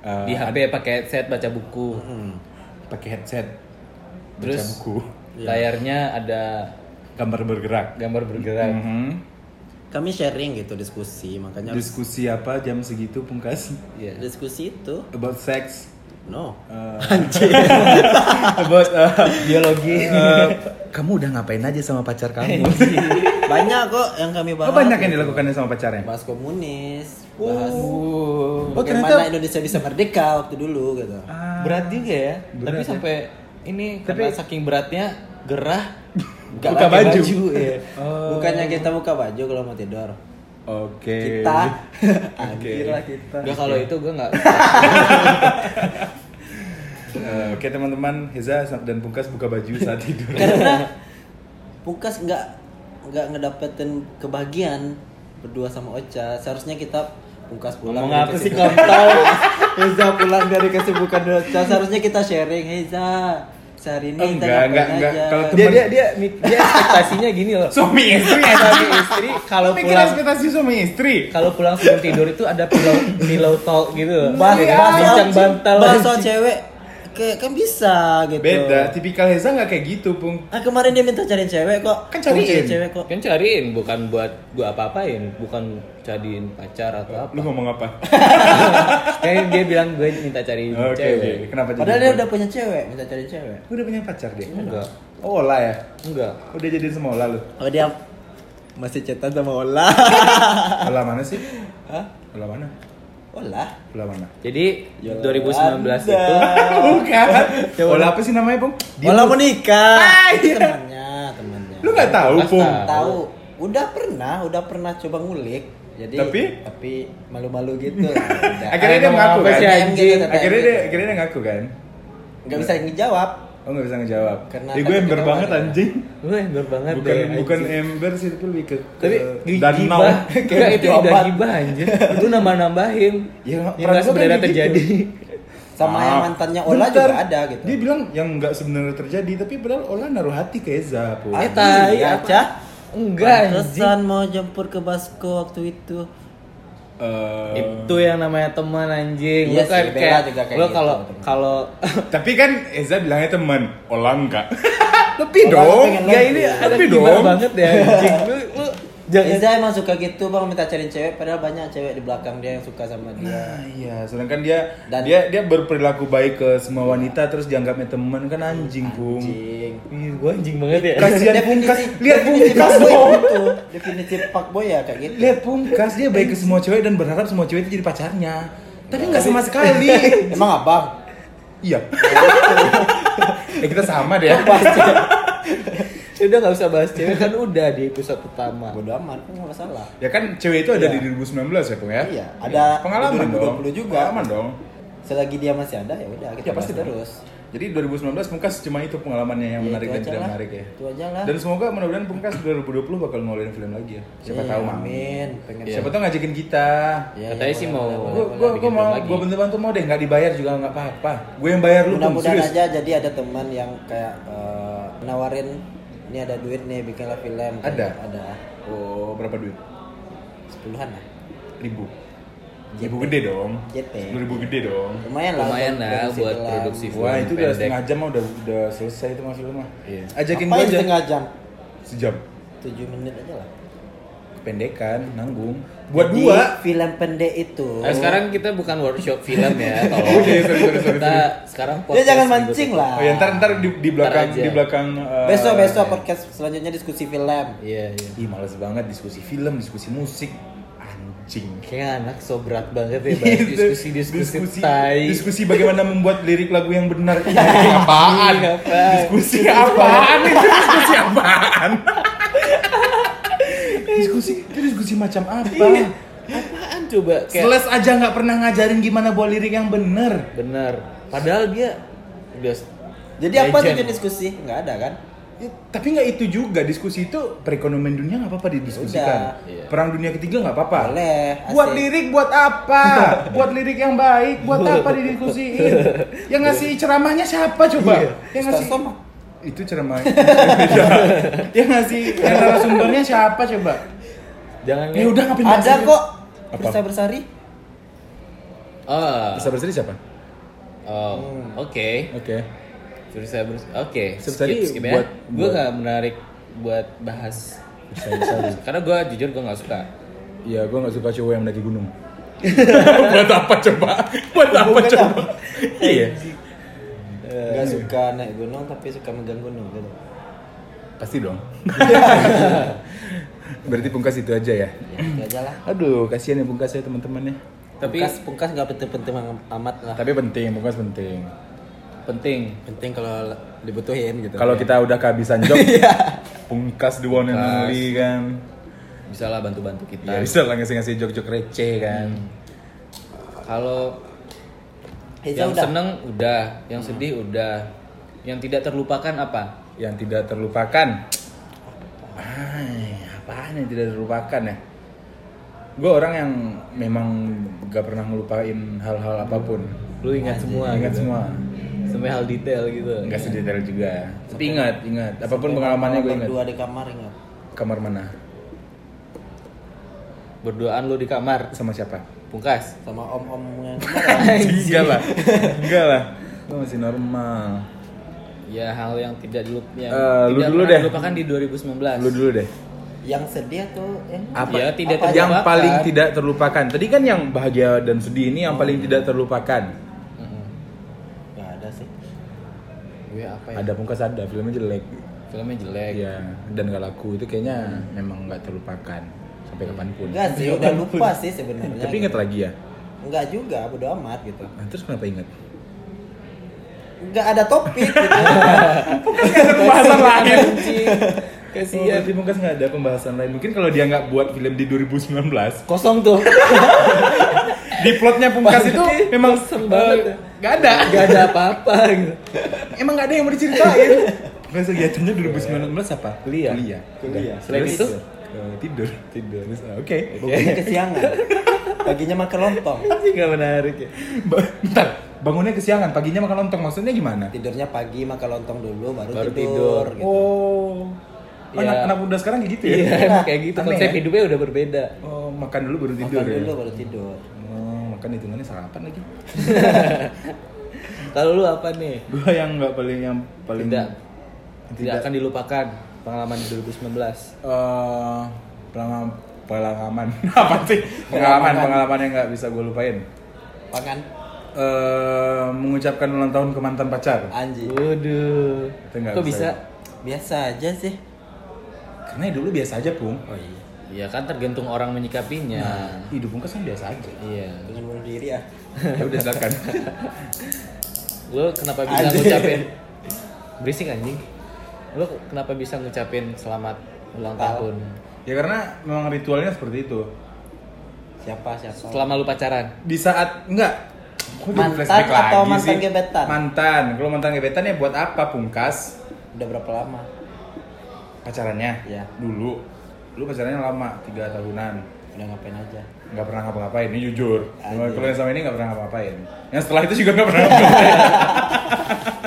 S4: Eh,
S2: Di HP pakai headset baca buku.
S3: Hmm.
S4: pakai headset.
S2: Terus
S4: Baca buku.
S2: Iya. layarnya ada
S4: Gambar bergerak.
S2: gambar bergerak.
S4: Mhm.
S3: kami sharing gitu diskusi makanya harus-
S4: Diskusi apa jam segitu pungkas?
S2: Iya.
S3: diskusi itu
S4: About sex.
S3: no
S1: eh,
S4: About uh,
S2: Biologi.
S4: uh,
S1: eh,
S4: kamu udah ngapain aja sama pacar kamu?
S3: banyak kok yang kami bahas
S1: Oh, banyak yang dilakukannya sama pacarnya.
S3: bahas komunis bahas
S4: Oh,
S3: bagaimana
S4: ternyata-
S3: Indonesia bisa merdeka waktu dulu gitu
S2: Berat juga ya. tapi sampai ini tapi saking beratnya gerah nggak
S4: Buka
S2: pakai
S4: baju.
S2: iya.
S3: bukannya kita buka baju kalau mau tidur
S4: Oke.
S3: kita anjir lah kita
S2: Nggak, ya kalau itu gue nggak
S4: Eh, Oke teman-teman, Heza dan Pungkas buka baju saat tidur.
S3: karena Pukas nggak nggak ngedapetin kebahagiaan berdua sama Ocha seharusnya kita Pukas pulang
S2: Ngomong apa
S3: dari
S2: sih,
S3: kesibukan- Heza pulang dari kesibukan Ocha seharusnya kita sharing Heza sehari ini kita
S4: Enggak,
S3: ngapain
S4: enggak, enggak.
S3: aja?"
S4: Kalau
S2: dia dia dia mik- dia ekspektasinya gini loh.
S1: Suami istri ya.
S2: Suami istri kalau
S1: Bikin
S2: pulang
S1: ekspektasi suami istri.
S2: kalau pulang sebelum tidur itu ada pillow pillow talk gitu loh.
S3: bahas
S2: Iya,
S3: bahas soal-
S2: bincang bantal.
S3: bahas soal cewek kayak kan bisa gitu
S1: Beda, tipikal Heza nggak kayak gitu, Pung.
S3: ah kemarin dia minta cariin cewek kok
S1: Kan cariin.
S3: Kamu cewek kok
S2: Kan cariin bukan buat gua apa-apain, bukan cariin pacar atau apa.
S4: Lu ngomong apa?
S2: Kayak dia bilang gue minta cari
S4: Oke,
S2: cewek.
S4: oke. kenapa jadi?
S3: padahal dia udah punya cewek minta cariin cewek
S1: Udah punya pacar dia?
S2: Enggak.
S1: Oh, Ola ya?
S2: Enggak.
S1: Udah jadi sama Ola lu?
S3: oh dia masih cetan sama Ola
S4: Olah mana sih?
S3: Hah?
S4: Olah mana?
S3: Ola
S4: Olah mana?
S2: Jadi
S3: Yolanda.
S2: 2019 itu
S1: Bukan. Ola Ya, apa sih namanya, Pung?
S3: Ola menikah. Itu
S1: iya.
S3: temannya, temannya.
S1: Lu nggak tahu, Pung?
S2: tahu.
S3: tahu? Udah pernah, udah pernah coba ngulik. Jadi
S1: Tapi?
S3: tapi malu-malu gitu lah. udah.
S1: Akhirnya dia
S2: Emang
S1: mengaku
S2: apa
S1: kan?
S2: sih, anjing?
S1: Akhirnya dia akhirnya dia ngaku kan?
S3: nggak bisa ngejawab.
S1: Oh nggak bisa ngejawab.
S3: Karena
S1: Ih, gue
S3: takut
S1: ember
S3: ketahuan
S1: banget
S3: ya.
S1: anjing.
S2: gue ember banget
S1: Bukan
S2: deh.
S1: bukan
S2: anjing.
S1: ember sih tapi lebih ke, ke
S2: tapi gi-
S1: danau.
S2: gibah enggak itu
S3: Kayak
S2: udah
S3: obat.
S2: gibah anjir itu nambah nambahin
S1: Ya,
S2: yang nggak
S1: perasaan
S2: sebenarnya
S1: kayak gitu.
S2: terjadi
S3: Sama
S1: Ah.
S3: yang mantannya Ola
S1: Bentar.
S3: juga ada gitu.
S1: Dia bilang yang nggak sebenarnya terjadi tapi padahal Ola naruh hati ke Eza. Pung.
S2: Ah, tai,
S3: Iya,
S2: apa?
S3: Cah.
S2: enggak anjing
S3: Pantesan mau jemput ke Basko waktu itu.
S4: Eh,
S2: itu yang namanya teman anjing
S3: Iya
S2: lo kan
S3: sih, Bella
S2: kayak
S3: juga kayak
S2: lo
S3: gitu,
S2: kalau
S3: teman.
S2: kalau
S1: tapi kan Eza bilangnya teman, Ola enggak. lebih
S3: Ola
S1: dong.
S3: pengen
S2: ya ini ada
S1: Tapi
S2: gibah
S1: dong.
S2: banget ya anjing lu lu jangan
S3: Eza emang suka gitu bang minta cariin cewek padahal banyak cewek di belakang dia yang suka sama dia.
S1: Nah, iya, sedangkan dia
S3: Dan-
S1: dia dia berperilaku baik ke semua wanita terus dianggapnya teman kan anjing, Pung.
S3: Anjing.
S2: Ih, gua anjing banget ya
S1: Kasihan Pungkas. Lihat
S3: definisi
S1: Pungkas
S3: fuckboy
S1: dong.
S3: gitu. Definisi fuckboy ya kayak gitu.
S1: Lihat Pungkas dia baik ke semua cewek dan berharap semua cewek itu jadi pacarnya. Tapi nggak sama sekali.
S3: Emang abang?
S1: iya. eh kita sama deh.
S2: udah nggak usah bahas cewek kan udah di episode pertama
S3: Bodo amat, kan nggak masalah.
S1: Ya kan cewek itu ada
S3: Iya.
S1: di 2019 ya, Pung ya?
S3: Iya, ada
S1: pengalaman
S3: 2020
S1: dong.
S3: juga.
S1: Pengalaman dong.
S3: Selagi dia masih ada ya udah kita
S1: Ya, pasti dong.
S3: bahas terus.
S1: Jadi 2019 Pungkas cuma itu pengalamannya yang
S3: Ya,
S1: menarik
S3: itu
S1: dan
S3: aja
S1: tidak
S3: lah.
S1: menarik ya.
S3: Itu aja lah.
S1: Dan semoga mudah-mudahan Pungkas 2020 bakal ngeluarin film lagi ya. Siapa
S3: Iya,
S1: tahu, Mang.
S3: Amin. Pengen
S1: Siapa tahu ngajakin kita.
S3: Ya,
S2: Iya, Katanya
S3: ya,
S2: sih
S3: boleh, boleh,
S2: mau-
S1: Gue
S3: boleh.
S1: gue gue
S2: bikin
S1: mau
S2: film lagi.
S1: gue bener-bener tuh mau deh nggak dibayar juga nggak apa-apa. Gue yang bayar lu pun
S3: Mudah-mudahan
S1: serius.
S3: aja jadi ada teman yang kayak eh, nawarin ini ada duit nih bikinlah film.
S1: Ada?
S3: Ada.
S1: Oh berapa duit?
S3: Sepuluhan lah.
S1: Ribu. Ribu gede dong.
S3: JT.
S1: Sepuluh ribu gede dong.
S3: Lumayan lah.
S2: Lumayan
S3: untuk produksi
S2: lah buat
S3: film.
S2: produksi. Film
S1: Wah itu udah
S2: pendek.
S1: setengah jam mah udah udah selesai itu mas lu mah.
S4: Iya.
S1: Ajakin
S3: Apa
S1: gue
S3: yang
S1: aja.
S3: setengah jam?
S1: Sejam.
S3: 7 menit aja lah.
S1: kependekan nanggung buat
S3: Jadi,
S1: dua
S3: film pendek itu.
S2: Nah, sekarang kita bukan workshop film ya, tolong. kita sekarang
S3: Ya
S2: podcast
S3: jangan
S2: gitu.
S3: mancing lah.
S1: oh ya ntar ntar di, di belakang
S2: aja.
S1: di belakang eh,
S3: Besok besok podcast selanjutnya diskusi film.
S2: Iya, iya.
S1: ih males banget diskusi film diskusi musik anjing
S2: Kayaknya anak so berat banget ya bahas diskusi-diskusi
S1: diskusi,
S2: tai.
S1: diskusi bagaimana membuat lirik lagu yang benar Iya, apaan
S2: Apaan?
S1: diskusi apaan itu diskusi apaan diskusi itu diskusi macam apa
S2: Apaan coba? Kayak
S1: Seles aja nggak pernah ngajarin gimana buat lirik yang bener
S2: bener. Padahal dia udah
S3: Jadi apa
S2: legend.
S3: tujuan diskusi? Nggak ada kan?
S1: Ya, tapi nggak itu juga diskusi itu perekonomian dunia nggak apa-apa didiskusikan
S2: Udah. Iya.
S1: perang dunia ketiga nggak apa-apa
S3: Boleh.
S1: buat
S3: asik.
S1: lirik buat apa buat lirik yang baik buat apa didiskusiin yang ngasih ceramahnya siapa coba yang
S3: Ustaz
S1: ngasih
S3: Somad.
S1: itu Ya. ceramah yang ngasih yang narasumbernya siapa coba
S2: Jangan
S1: ya udah ngapain bahas
S3: Ada
S1: aja.
S3: kok.
S1: Apa?
S3: Bisa bersari.
S2: Oh.
S1: bisa berseri siapa
S2: Oh, oke.
S1: oke
S2: Terus saya ber- oke.
S1: Terus
S2: Skip,
S1: tadi
S2: skip ya.
S1: buat-
S2: Gue
S1: buat-
S2: gak menarik buat bahas. Karena gue jujur gue gak suka.
S1: Iya, gue gak suka cowok yang mendaki gunung. buat apa coba? Buat apa
S3: Hubungannya
S1: coba? Iya. Eh.
S3: Nggak suka naik gunung tapi suka megang gunung gitu.
S1: Pasti dong. Berarti pungkas itu aja ya.
S3: Ya, gitu aja lah.
S1: Aduh, kasihan ya pungkas ya teman-temannya.
S2: Tapi
S3: pungkas pungkas nggak penting-penting am- amat lah.
S1: Tapi penting, pungkas penting.
S2: penting.
S3: Penting kalau dibutuhin gitu.
S1: Kalau kita udah kehabisan job, pungkas the one and only kan.
S2: Bisa lah bantu-bantu kita.
S1: Ya bisa lah ngasih-ngasih jok-jok receh kan.
S2: Kalau
S3: Hijau
S2: yang
S3: Ya udah.
S2: seneng udah, yang
S1: Hmm.
S2: sedih udah, yang tidak terlupakan apa?
S1: Yang tidak terlupakan. Ay, apaan yang tidak terlupakan ya? Gue orang yang memang gak pernah ngelupain hal-hal apapun.
S2: Lu ingat semua,
S1: Ingat
S2: gitu.
S1: semua.
S2: sampai hal detail gitu.
S1: Enggak sedetail juga. Tapi ingat, ingat. Apapun pengalamannya gue ingat.
S3: Berdua di kamar ingat.
S1: Kamar mana?
S2: Berduaan lu di kamar,
S1: Sama siapa?
S2: pungkas.
S3: Sama om-om yang
S1: Enggak lah. Enggak lah. Gue masih normal.
S2: Ya hal yang tidak dilup yang
S1: Eh, lu
S2: tidak
S1: dulu
S2: pernah
S1: deh.
S2: dilupakan di 2019.
S1: Lu dulu deh.
S3: yang sedih atau yang
S2: Apa?
S1: Iya,
S2: Ya, tidak
S3: Apa
S1: yang
S2: terlupakan.
S1: paling tidak terlupakan. Tadi kan yang bahagia dan sedih ini
S2: Oh.
S1: yang paling tidak terlupakan.
S2: Mm-mm.
S3: Nggak ada sih.
S2: Gue apa ya?
S1: Ada pungkas ada, filmnya jelek.
S2: Filmnya jelek.
S1: Iya, dan gak laku itu kayaknya memang nggak terlupakan sampai kapanpun.
S3: Enggak sih, udah lupa sih sebenarnya.
S1: Iya, Tapi ingat lagi ya.
S3: Enggak juga, bodo amat gitu.
S1: Nah, terus kenapa ingat?
S3: Enggak ada topik gitu.
S1: Pembahasan lain.
S2: Anjing.
S1: Oh,
S2: Kasihan.
S1: berarti mungkin nggak ada pembahasan lain. Mungkin kalau dia nggak buat film di 2019,
S2: Kosong tuh.
S1: di plotnya pungkas itu memang
S2: Kosong
S1: eh,
S2: banget ya.
S1: nggak ada
S2: Gak ada apa-apa gitu.
S1: emang nggak ada yang mau diceritain Terus kegiatannya 2019 apa kuliah kuliah,
S3: Kuliah.
S2: Selain
S1: Terus,
S2: itu?
S1: eh, tidur tidur Terus, ah, oke
S3: Bukannya kesiangan. Paginya makan lontong,
S2: Anjing gak menarik ya.
S1: Ba- bentar bangunnya kesiangan paginya makan lontong maksudnya gimana
S3: tidurnya pagi makan lontong dulu baru,
S2: Baru
S3: tidur.
S2: tidur.
S3: gitu.
S1: oh
S2: Iya.
S1: anak anak muda sekarang kayak gitu ya
S2: Iya, emang kayak gitu.
S1: Aneh
S2: Konsep
S1: ya?
S2: hidupnya udah berbeda.
S1: oh makan dulu baru
S3: makan
S1: tidur
S3: dulu
S1: ya
S3: baru tidur.
S1: oh, makan hitungannya sarapan lagi
S2: Kalau lu apa nih?
S1: gua yang nggak paling yang paling
S2: Tidak.
S1: Tidak.
S2: Tidak, akan dilupakan pengalaman di 2019.
S1: Eh, pengalaman pengalaman apa sih pengalaman pengalaman yang nggak bisa gue lupain
S3: Makan
S1: Eh, mengucapkan ulang tahun ke mantan pacar
S3: anjing.
S2: Waduh.
S1: Itu nggak
S2: Kok
S1: bisa.
S2: bisa?
S3: Biasa aja sih.
S1: karena dulu biasa aja pung
S3: Oh iya.
S2: Ya kan tergantung orang menyikapinya.
S1: hidup pung kan biasa aja
S2: Nah. Iya.
S3: Dengan bunuh diri ya.
S1: ya udah silakan
S2: Lu kenapa bisa
S3: Anjing.
S2: ngucapin berisik anjing? Lu kenapa bisa ngucapin selamat ulang
S3: Tahu.
S2: tahun?
S1: ya karena memang ritualnya seperti itu
S3: Siapa siapa?
S2: Selama lu pacaran.
S1: di saat enggak Kok jadi
S3: Mantan
S1: flashback
S3: atau
S1: lagi
S3: mantan
S1: sih?
S3: gebetan?
S1: mantan kalau mantan gebetan ya buat apa pungkas
S3: Udah berapa lama?
S1: pacarannya
S3: Iya.
S1: dulu dulu pacarannya lama tiga tahunan
S3: Udah ngapain aja?
S1: nggak pernah ngapa-ngapain ini jujur Cuma
S3: Anjir.
S1: kalau yang sama ini nggak pernah ngapa-ngapain yang setelah itu juga nggak pernah ngapa-ngapain ya,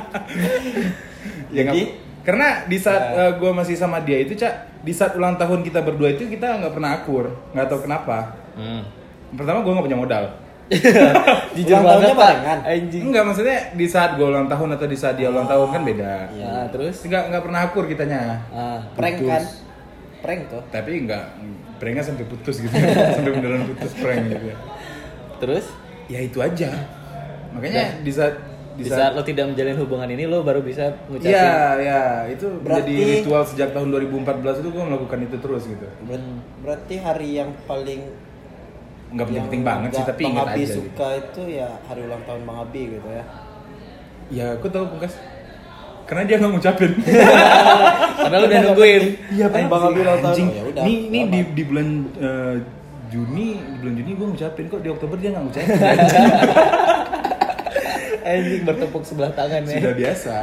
S3: Jadi? Iya.
S1: nggak- karena di saat gue masih sama dia itu cak di saat ulang tahun kita berdua itu kita nggak pernah akur nggak tahu kenapa
S2: Hmm.
S1: pertama gue nggak punya modal
S2: Jujur
S3: Ulang tahunnya
S2: banget, Pak. Eh,
S3: barengan?
S2: Anjing.
S1: nggak maksudnya di saat gue ulang tahun atau di saat dia ulang tahun kan beda
S3: Iya.
S2: Nah, terus
S1: nggak nggak pernah akur kitanya
S2: ah,
S3: Prank
S1: Putus.
S3: kan? Prank tuh.
S1: tapi nggak pranknya sampai putus gitu sampai beneran putus prank gitu ya
S2: Terus
S1: ya itu aja makanya di saat
S2: di saat Ya, lo tidak menjalin hubungan ini lo baru bisa ngucapin
S1: Iya, iya, itu
S3: Berarti-
S1: menjadi ritual sejak tahun 2014 itu gue melakukan itu terus gitu.
S3: Ber- berarti hari yang paling
S1: Nggak penting-penting
S3: yang
S1: banget sih,
S3: nggak
S1: tapi
S3: Bang
S1: ingat
S3: Abi
S1: aja. Gitu.
S3: suka itu ya hari ulang tahun Bang Abi gitu ya
S1: Ya, aku tahu pungkas. Karena dia nggak ngucapin.
S2: karena lo udah nungguin
S1: Iya,
S3: Kan Bang Abi ulang tahun.
S1: anjing.
S3: Oh, ya udah,
S1: Ini ini di,
S3: lama.
S1: di bulan eh, Juni, di bulan Juni gue ngucapin kok di Oktober dia nggak ngucapin.
S2: anjing bertepuk sebelah tangan ya
S1: Sudah biasa.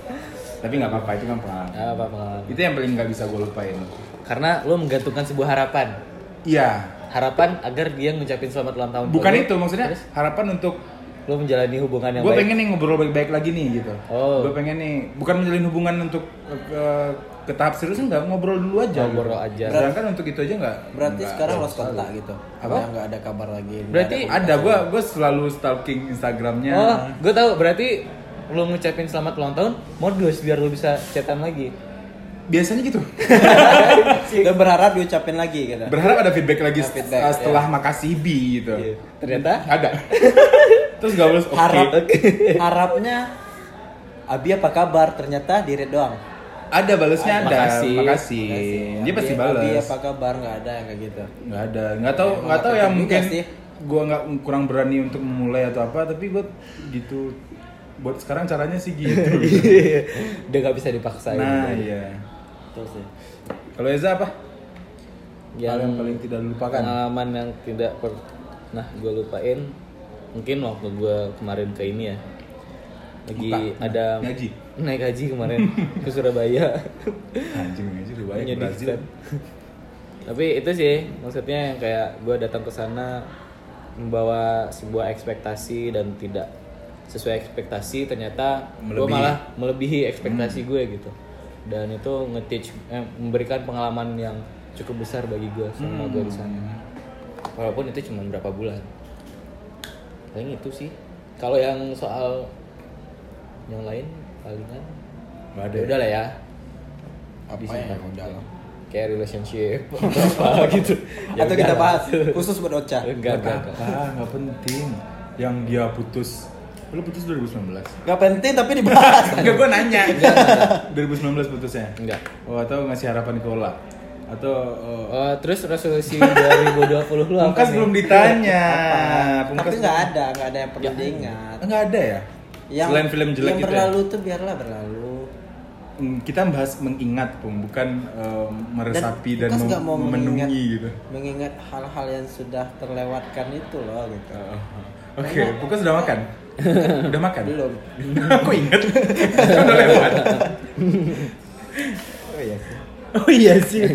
S1: tapi nggak apa-apa itu kan pengalaman.
S2: Nggak apa pengalaman
S1: Itu yang paling nggak bisa gue lupain.
S2: karena lo menggantungkan sebuah harapan
S1: Iya,
S2: harapan agar dia ngucapin selamat ulang tahun
S1: bukan
S2: ke lo.
S1: itu maksudnya harapan untuk
S2: lo menjalani hubungan yang
S1: gue
S2: baik
S1: pengen nih ngobrol baik-baik lagi nih gitu
S2: Oh.
S1: gue pengen nih bukan menjalin hubungan untuk eh, ke, ke tahap serius enggak ngobrol dulu aja
S2: Ngobrol
S1: gitu.
S2: aja.
S1: sedangkan untuk itu aja enggak
S3: berarti
S1: enggak.
S3: sekarang lost kontak gitu
S1: Apa?
S3: Yang nggak ada kabar lagi nggak
S2: Berarti
S3: ada
S1: ada gue gue selalu stalking instagramnya
S2: oh gue tahu berarti lo ngucapin selamat ulang tahun modus biar lo bisa cetan lagi
S1: biasanya gitu
S3: komunikasi. dan berharap diucapin lagi gitu
S1: berharap ada feedback lagi
S3: Ada feedback,
S1: eh,
S2: ya.
S1: setelah makasih bi gitu
S2: Iya. ternyata
S1: ada terus gak boleh oke
S3: harap harapnya Abi apa kabar ternyata di read doang
S1: ada balesnya ada
S2: Ah, Makasih. Iya.
S1: makasih, Iya, dia
S3: Abi-
S1: pasti
S3: Abi
S1: balas
S3: apa kabar nggak ada yang kayak gitu
S1: nggak ada nggak tahu
S3: Ya,
S1: nggak tahu yang
S3: juga
S1: mungkin
S3: sih.
S1: gue nggak kurang berani untuk memulai atau apa tapi gue gitu buat sekarang caranya sih gitu
S2: udah gak bisa dipaksain
S1: nah iya
S3: terus sih
S1: kalau Eza apa hal
S2: Yang-
S1: yang paling tidak dilupakan
S2: pengalaman yang tidak pernah gue lupain mungkin waktu gue kemarin ke ini ya lagi
S1: Buka.
S2: ada
S1: Ngaji.
S2: naik haji kemarin ke Surabaya
S1: anjing aja lebih baik Brazil
S2: menyedihkan tapi itu sih maksudnya yang kayak gue datang ke sana membawa sebuah ekspektasi dan tidak sesuai ekspektasi ternyata gue
S1: Melebihi. Hmm.
S2: malah melebihi ekspektasi gue gitu dan itu nge-teach eh, memberikan pengalaman yang cukup besar bagi gue selama gue di
S1: Hmm.
S2: sana walaupun itu cuma berapa bulan paling itu sih kalau yang soal yang lain palingan
S1: Nggak ada
S2: ya
S1: ya?
S2: udah lah ya
S3: apa
S2: Bisa
S3: yang
S2: nggak?
S3: udah lah.
S2: kayak relationship apa gitu Ya
S3: atau
S2: udah
S3: kita
S2: lah.
S3: bahas khusus buat Ocha
S2: enggak enggak, enggak.
S1: ah nggak penting yang dia putus lu putus 2019
S3: nggak penting tapi dibahas
S1: Enggak gue nanya 2019 putusnya
S2: Enggak.
S1: oh atau ngasih harapan ke Ola atau oh,
S2: Eh, terus resolusi 2020 lu apa
S1: Pungkas
S2: nih?
S1: belum ditanya
S3: tapi
S1: Nah, Pungkas
S3: nggak ada nggak ada yang perlu diingat
S1: nggak ada ya selain film jelek
S3: yang
S1: gitu ya?
S3: berlalu tuh biarlah berlalu
S1: Hmm, kita bahas mengingat pung bukan eh, meresapi dan,
S3: Lukas
S1: mem-
S3: nggak mau mengingat,
S1: memenungi gitu
S3: mengingat hal-hal yang sudah terlewatkan itu loh gitu
S1: Oh, Oke, Pungkas sudah makan? Udah makan?
S3: belum
S1: Aku inget. Udah lewat.
S3: oh iya sih
S1: Oh iya sih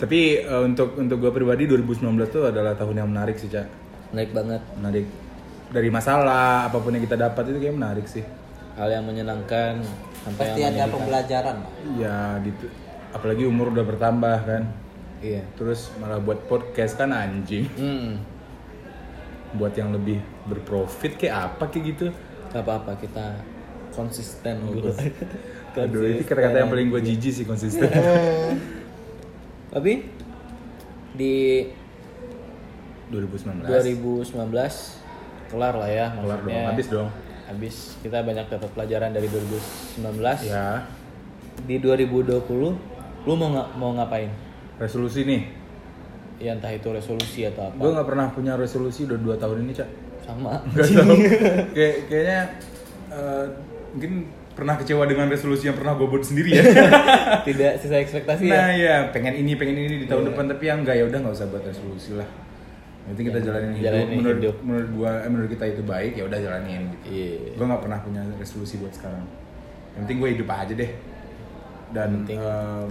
S1: Tapi eh, untuk untuk gue pribadi 2019 tuh adalah tahun yang menarik sih, Cak.
S2: Menarik banget
S1: Menarik dari masalah apapun yang kita dapat itu kayak menarik sih.
S2: hal yang menyenangkan sampai
S3: pasti ada
S2: yang menyedihkan.
S3: pembelajaran lah.
S1: Ya gitu. Apalagi umur udah bertambah kan.
S2: Iya.
S1: Terus malah buat podcast kan anjing.
S2: Hmm.
S1: Buat yang lebih berprofit kayak apa kayak gitu.
S2: Gak apa-apa kita konsisten dulu.
S1: Aduh, itu kata-kata yang paling
S2: Iya.
S1: gue jijik sih konsisten.
S2: Tapi di
S1: 2019.
S2: 2019 kelar lah ya maksudnya.
S1: Kelar dong, habis dong.
S2: Habis kita banyak dapat pelajaran dari 2019.
S1: Ya,
S2: Di 2020 lu mau nga- mau ngapain?
S1: resolusi nih.
S2: Ya entah itu resolusi atau apa.
S1: Gue nggak pernah punya resolusi udah 2 tahun ini, Cak.
S2: Sama.
S1: Gak tau. Kayak, kayaknya eh, mungkin pernah kecewa dengan resolusi yang pernah gue buat sendiri ya.
S2: Tidak sesuai ekspektasi ya.
S1: nah ya, pengen ini, pengen ini di
S2: Iya.
S1: tahun depan tapi yang enggak ya udah nggak usah buat resolusi lah. Nanti kita jalanin hidup,
S2: Iya. jalanin
S1: menurut
S2: hidup.
S1: menurut gua eh, menurut kita itu baik ya udah jalanin gitu.
S2: Iya.
S1: Gue nggak pernah punya resolusi buat sekarang. Yang penting gue hidup aja deh. Dan
S2: Penting. Iya.
S1: eh,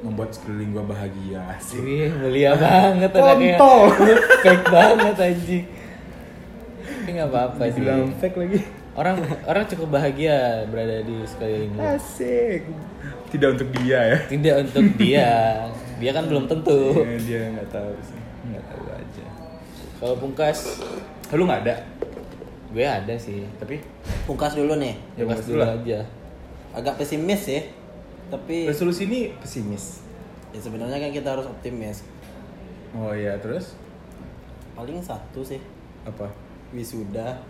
S1: membuat sekeliling gue bahagia sih.
S2: Wih, mulia banget anaknya.
S1: Kontol.
S2: Lu fake banget anjing. Tapi nggak apa-apa sih.
S1: Dibilang fake lagi.
S2: Orang orang cukup bahagia berada di sekeliling lu.
S1: Iya. Asik. Tidak untuk dia ya.
S2: Tidak untuk dia. Dia kan belum tentu.
S1: Ya, dia nggak tahu sih. Nggak tahu aja.
S2: Kalau pungkas,
S1: Lu nggak ada.
S2: gue ada sih. Tapi
S3: pungkas dulu nih
S1: Ya, pungkas
S2: pungkas
S1: dulu
S2: dulu
S1: lah.
S2: aja. Iya.
S3: agak pesimis sih tapi
S1: Resolusi ini pesimis.
S3: ya sebenarnya kan kita harus optimis
S1: Oh iya, terus
S3: paling satu sih
S1: apa?
S3: wisuda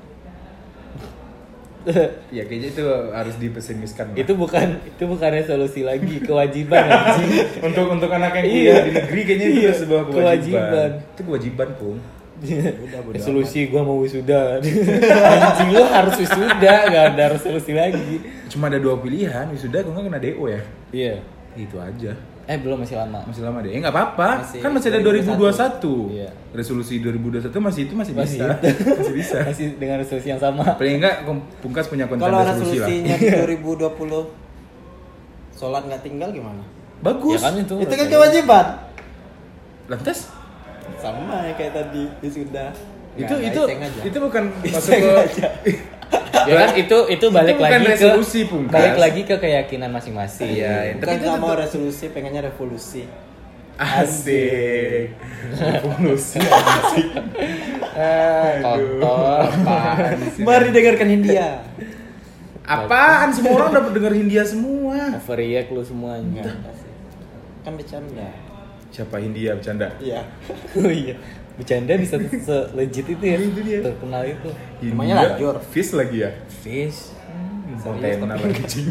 S1: Ya kayaknya itu harus dipesimiskan. lah.
S2: itu bukan itu bukan resolusi lagi kewajiban ya, anjing
S1: untuk untuk anak yang kuliah di negeri kayaknya itu
S2: Iya,
S1: sebuah Iya. kewajiban.
S2: kewajiban.
S1: Itu kewajiban, Pung.
S3: udah bodo
S2: resolusi gua mau wisuda anjing lu harus wisuda nggak ada resolusi lagi
S1: Cuma ada dua pilihan, wisuda kalau nggak kena DO ya.
S2: iya
S1: Itu aja.
S2: eh belum masih lama
S1: Masih lama deh. Eh nggak apa-apa.
S3: Masih
S1: kan masih ada 2021.
S2: 2021. Iya.
S1: Resolusi 2021 masih itu masih,
S2: Masih.
S1: bisa. masih bisa.
S2: masih dengan resolusi yang sama
S1: Paling enggak pungkas punya konten
S3: kalau
S1: resolusi lah.
S3: resolusinya di 2020 sholat nggak tinggal gimana
S1: Bagus.
S2: ya kan itu
S3: itu kan kewajiban
S1: Lantas
S3: sama ya kayak tadi wisuda
S1: itu
S3: Nggak,
S1: itu
S3: iseng aja.
S1: itu bukan masuk
S3: Iseng
S1: ke
S3: aja.
S2: ya kan itu itu balik
S1: bukan
S2: lagi
S1: resolusi,
S2: ke
S1: Pungkas.
S2: balik lagi ke keyakinan masing-masing
S1: Iya, ya.
S3: bukan
S1: tapi itu
S3: nggak mau
S1: tetap-
S3: resolusi pengennya revolusi
S1: asik. Bonus. asik.
S2: kotor apaan sih?
S3: mari dengarkan Hindia
S1: Apaan semua orang dapat denger Hindia semua.
S2: overreact lu semuanya
S3: kan bercanda
S1: Siapa Hindia bercanda?
S3: iya
S2: oh iya bercanda bisa se legit itu ya
S1: Iya, Itu dia.
S2: terkenal itu
S3: Emangnya lanjut?
S1: Fish lagi ya?
S2: fish
S1: Kontainer lagi cing.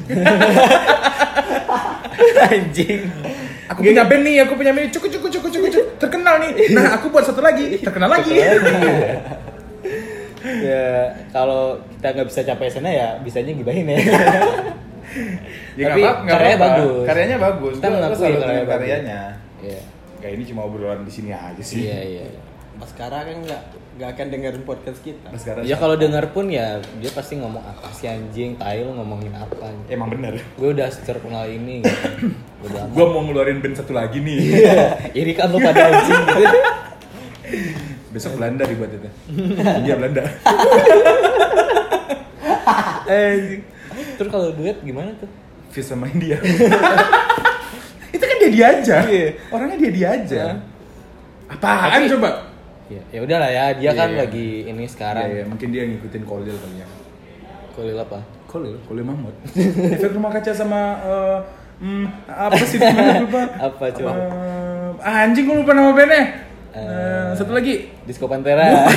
S2: anjing
S1: Aku punya band nih, aku punya band nih. Cukup, cukup, cukup, cukup, cukup. Terkenal nih. Nah, aku buat satu lagi. Terkenal lagi.
S2: ya kalau kita nggak bisa capai sana ya bisanya gibahin ya
S1: Ya, nggak
S2: Tapi
S1: apa- nggak
S2: karyanya
S1: apa-apa.
S2: bagus.
S1: Karyanya bagus.
S2: Kita
S1: Gua- gua
S2: mengakui
S1: salut
S2: karyanya
S1: dengan
S2: bagus.
S1: karyanya.
S2: iya
S1: Kayak ini cuma obrolan di sini aja sih.
S2: iya iya
S3: Baskara kan nggak nggak akan dengerin podcast kita
S1: Mas Garas.
S2: ya kalau dengar pun ya dia pasti ngomong apa sih anjing tai lu ngomongin apa
S1: Emang bener.
S2: gue udah terkenal ini udah
S1: Gua mau ngeluarin band satu lagi nih.
S2: iri kan lu pada anjing gitu
S1: Besok Belanda dibuat itu. Iya Belanda. Eh,
S2: anjing terus kalau duet gimana tuh
S1: Fish sama India. itu kan dia dia aja. Orangnya dia dia aja.
S2: Iya. Hah?
S1: Apaan coba?
S2: ya ya udahlah ya dia kan
S1: Iya.
S2: lagi ini sekarang
S1: Iya, iya, mungkin dia ngikutin Kolil kali ya.
S2: kulit apa
S1: Kolil, Kolil Mahmud. Efek rumah kaca sama eh, hmm, apa sih namanya lupa?
S2: Apa, coba?
S1: Eh, anjing gua lupa nama bandnya.
S2: Eh,
S1: Eh, satu lagi.
S2: disco pantera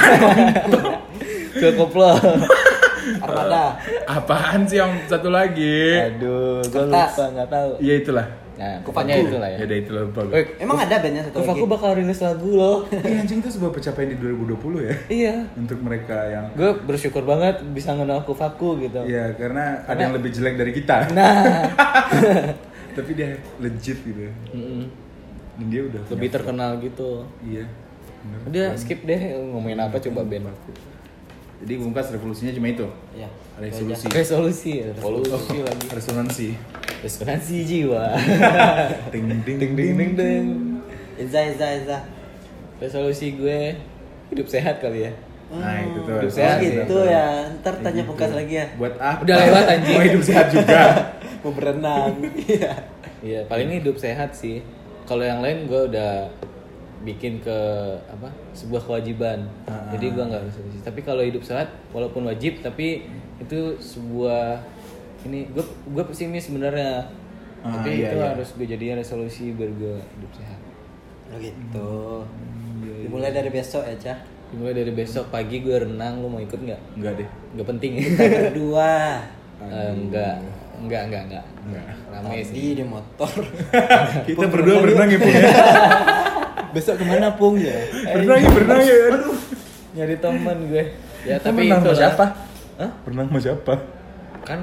S2: Cukup koplo
S3: Armada
S1: Apaan sih yang satu lagi?
S2: aduh gue
S3: Kertas.
S2: lupa nggak tahu
S1: Ya itulah.
S2: nah pokoknya itulah ya
S1: Ya udah itulah lupa gua.
S2: Woi,
S3: emang ada bandnya satu
S2: Kufaku
S3: lagi
S2: bakal rilis lagu loh.
S1: Ih, Iya, anjing itu sebuah pencapaian di 2020 ya.
S2: iya.
S1: Untuk mereka yang
S2: Gue bersyukur banget bisa ngenal Kufaku gitu.
S1: Iya, karena ada yang lebih jelek dari kita.
S2: Nah,
S1: Tapi dia legit gitu.
S2: mm-mm.
S1: Dan dia udah
S2: lebih
S1: punya-
S2: terkenal gitu.
S1: Iya. bener.
S2: Udah skip deh ngomongin apa coba Ben.
S1: Jadi bungkas revolusinya cuma itu.
S3: Iya.
S1: Resolusi. Oh,
S2: Resolusi, resolusi lagi.
S1: Resonansi.
S2: Resonansi jiwa.
S1: Ting ding
S2: ding ding ding ding.
S3: Iza Iza Iza
S2: Resolusi gue hidup sehat kali ya.
S1: Nah, itu tuh.
S2: Hidup
S3: Oh,
S2: sehat
S1: resonansi.
S3: gitu ya ntar tanya pungkas lagi ya
S1: Buat apa?
S2: Udah lewat, anjing.
S1: Mau hidup sehat juga.
S3: mau berenang iya
S2: Iya, paling ini hidup sehat sih. Kalau yang lain gue udah bikin ke apa sebuah kewajiban.
S1: Ah.
S2: Jadi gue nggak resolusi. Tapi kalau hidup sehat, walaupun wajib, tapi itu sebuah ini gue gue pesimis sebenarnya.
S1: Ah,
S2: tapi
S1: iya,
S2: itu
S1: iya.
S2: harus gue jadinya resolusi biar gue hidup sehat.
S3: Oh, gitu dimulai dari besok ya cah
S2: Mulai dari besok pagi gue renang, lu mau ikut nggak?
S1: Enggak deh.
S2: Nggak penting.
S3: kita berdua
S2: Eh, enggak, enggak, enggak, enggak. Ramai sih.
S3: di di motor
S1: Kita berdua berenang ya, Pung.
S3: besok kemana pung ya
S1: Berenang ya, berenang ya. Aduh.
S2: Nyari teman gue. Ya
S1: Lu
S2: tapi
S1: menang sama
S2: itu
S1: siapa?
S2: Hah?
S1: Berenang sama siapa?
S2: Kan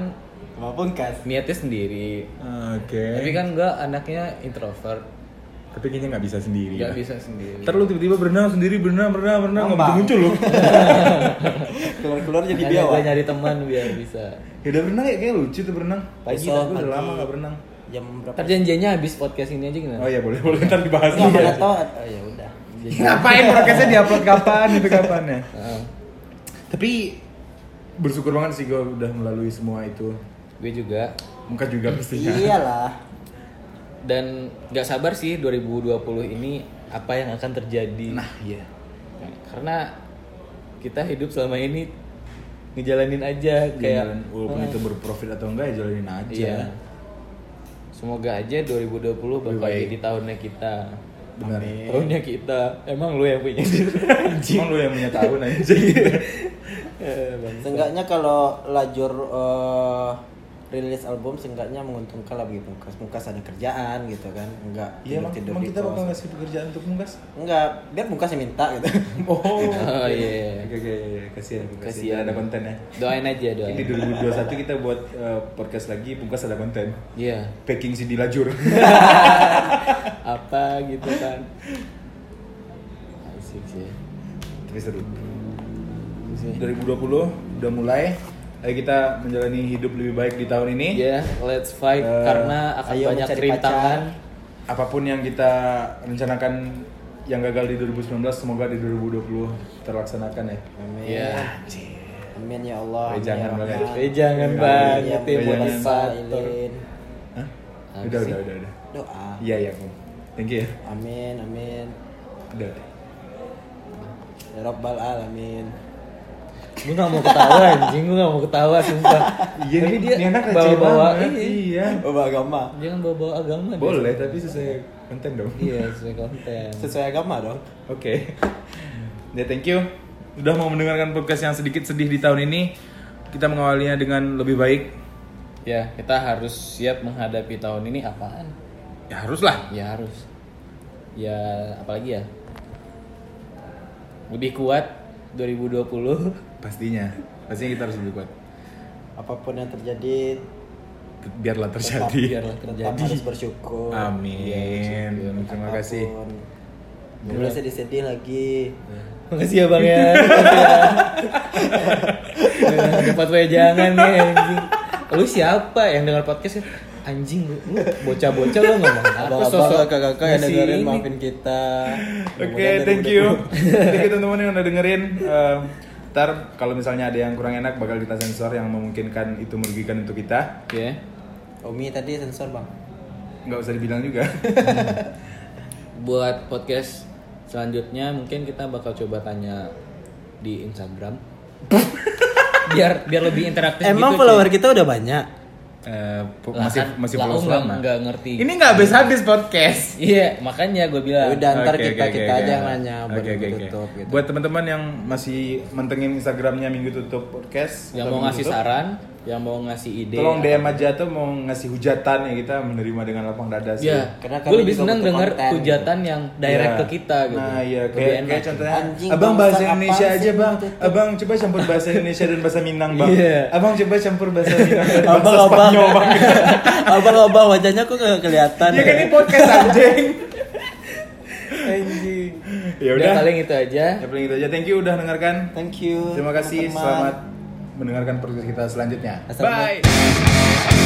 S3: sama pungkas
S2: niatnya sendiri
S1: Oke.
S2: tapi kan gue anaknya introvert
S1: Tapi kayaknya nggak bisa sendiri.
S2: nggak
S1: lah.
S2: bisa sendiri
S1: Ntar lu tiba-tiba berenang sendiri, berenang, berenang, berenang, nggak
S3: Ngambang.
S1: muncul lu.
S3: keluar keluar jadi
S2: Makanya
S3: biawak
S2: gue nyari teman biar bisa
S1: Ya udah berenang ya, kayaknya lucu tuh berenang. Pagi,
S3: Besok
S1: tapi udah
S3: pagi.
S1: lama nggak berenang.
S3: jam berapa
S2: perjanjiannya habis podcast ini aja gimana
S1: Oh iya boleh, boleh ntar dibahas
S3: nggak
S1: lagi.
S3: mana tau oh ya udah
S1: Ngapain podcastnya diupload kapan itu kapan ya?
S2: Heeh.
S1: Tapi bersyukur banget sih gue udah melalui semua itu.
S2: gue juga
S1: Muka juga
S3: Iya,
S1: pastinya.
S3: iyalah
S2: dan nggak sabar sih 2020 ini apa yang akan terjadi
S1: Nah iya.
S2: karena kita hidup selama ini ngejalanin aja
S1: Kayak
S2: kayak
S1: walaupun itu berprofit atau enggak ya jalanin aja.
S2: Iya. Semoga aja 2020 bakal
S1: baik.
S2: jadi tahunnya kita.
S1: Benar.
S2: Tahunnya kita. Emang lu yang punya.
S1: Emang lu yang punya nah, iya. tahun aja.
S2: Eh, Bang.
S3: Seenggaknya kalau lajur eh, rilis album seenggaknya menguntungkan lah bagi pungkas. Pungkas ada kerjaan gitu kan. Enggak
S1: Iya, emang,
S3: tidur-tidur
S1: emang
S3: di
S1: kita
S3: kos.
S1: bakal ngasih pekerjaan untuk Mungkas?
S3: Enggak, biar pungkas yang minta gitu.
S1: Oh,
S2: Oh iya.
S1: Oke, oke, oke. Kasihan, Pungkas.
S2: Kasihan. Iya.
S1: Nggak ada konten ya.
S2: Doain aja
S1: Mungkin
S2: doain.
S1: di 2021 kita buat eh, podcast lagi, Pungkas ada konten.
S2: Iya.
S1: Packing CD lajur.
S2: Apa gitu kan. Asik sih.
S1: Tapi seru.
S2: Asik sih.
S1: 2020 udah mulai. Ayo kita menjalani hidup lebih baik di tahun ini.
S2: Ya, let's fight
S1: Eh,
S2: karena akan
S3: ayo
S2: banyak
S3: mencari
S2: rintangan.
S1: Apapun yang kita rencanakan yang gagal di 2019 semoga di 2020 terlaksanakan ya.
S3: Amin.
S2: Iya.
S3: Amin ya Allah.
S1: Eh, jangan banget.
S2: Eh jangan banget ya
S1: Jangan.
S2: motivator.
S3: motivator.
S1: iya. Hah?
S2: Apa
S1: Udah,
S2: sih?
S1: udah, udah, udah.
S3: Doa.
S1: Iya, iya. Bung. Thank you ya.
S3: Amin, amin.
S1: Udah.
S3: Ya Rabbal alamin.
S2: Gue gak mau ketawa anjing, gue gak mau ketawa sumpah
S1: Iya,
S2: Tapi
S1: nih,
S2: dia
S1: nih anak receh
S2: bawa-bawa
S1: banget.
S2: iya.
S1: Iya.
S3: Bawa agama.
S2: Jangan bawa-bawa agama dia.
S1: Boleh, tapi sesuai konten dong. Oke.
S2: Iya, sesuai konten
S3: Sesuai agama dong.
S1: Ya, thank you. Udah mau mendengarkan podcast yang sedikit sedih di tahun ini. Kita mengawalinya dengan lebih baik.
S2: Ya, kita harus siap menghadapi tahun ini apaan?
S1: Ya haruslah.
S2: Ya harus Ya, apalagi ya? Lebih kuat 2020
S1: Pastinya. Pastinya kita harus lebih kuat.
S3: Apapun yang terjadi,
S1: Biarlah
S3: tetap,
S1: terjadi.
S2: biarlah
S3: tetap
S2: terjadi.
S3: harus bersyukur.
S1: Amin. Terima kasih.
S3: Apapun. Nggak boleh sedih-sedih lagi.
S2: Makasih ya bang ya Nah, Dapat wejangan nih anjing Lu siapa yang dengar podcast ya? Anjing lu, lu bocah-bocah lu ngomong apa
S3: Abang-abang,
S2: sosok
S3: kakak-kakak yang
S2: masih
S3: dengerin
S2: ini.
S3: maafin kita.
S1: Oke,
S3: Mudah-mudahan
S1: thank
S3: dari-
S1: you. thank you teman-teman yang udah dengerin. Eh, ntar kalau misalnya ada yang kurang enak bakal kita sensor yang memungkinkan itu merugikan untuk kita.
S2: Oke
S3: Omi tadi sensor bang.
S1: Nggak usah dibilang juga.
S2: Buat podcast selanjutnya mungkin kita bakal coba tanya di Instagram biar biar lebih interaktif
S3: Emang
S2: gitu,
S3: follower kita udah banyak.
S1: Eh, po-
S2: Lah
S1: masih
S2: kan,
S1: masih
S2: lah
S1: polos
S2: lu nggak-
S1: lama.
S2: nggak ngerti.
S1: Ini nggak habis habis podcast.
S2: iya makanya gue bilang
S3: Ya Udah ntar
S1: Oke,
S3: kita
S1: oke,
S3: kita
S1: oke,
S3: aja yang
S1: oke.
S3: nanya
S1: Oke,
S3: baru
S1: oke, oke.
S3: tutup gitu.
S1: Buat teman-teman yang masih mentengin Instagramnya Minggu Tutup Podcast atau
S2: yang mau
S1: Minggu
S2: ngasih
S1: Tutup,
S2: saran yang mau ngasih ide
S1: Tolong DM aja atau mau ngasih hujatan ya kita menerima dengan lapang dada sih.
S2: Iya,
S3: Karena
S2: gue
S3: kami
S2: lebih
S3: juga
S2: senang
S3: butuh
S2: denger
S3: konten,
S2: hujatan yang direct
S1: Iya.
S2: ke kita gitu.
S1: Nah, iya
S2: Lebih
S1: kayak,
S2: enak.
S1: kayak contohnya
S3: Anjing,
S1: Abang
S3: bangsa,
S1: bahasa Indonesia
S3: apaan sih
S1: aja, Bang.
S3: Minggu Tutup?
S1: Abang coba campur bahasa Indonesia dan bahasa Minang, Bang.
S2: Iya.
S1: Abang coba campur bahasa Minang dan bahasa
S3: Abang-abang,
S1: Spanyol, Bang.
S3: abang-abang wajahnya kok nggak kelihatan. ya?
S1: Iya kan ini podcast anjing.
S2: Anjing.
S1: Ya
S2: Ya
S1: udah.
S2: udah paling itu aja.
S1: Ya paling itu aja. Thank you udah dengarkan.
S3: Thank you.
S1: Terima kasih.
S3: teman-teman.
S1: Selamat mendengarkan podcast kita selanjutnya.
S3: Assalamualaikum.
S1: Bye.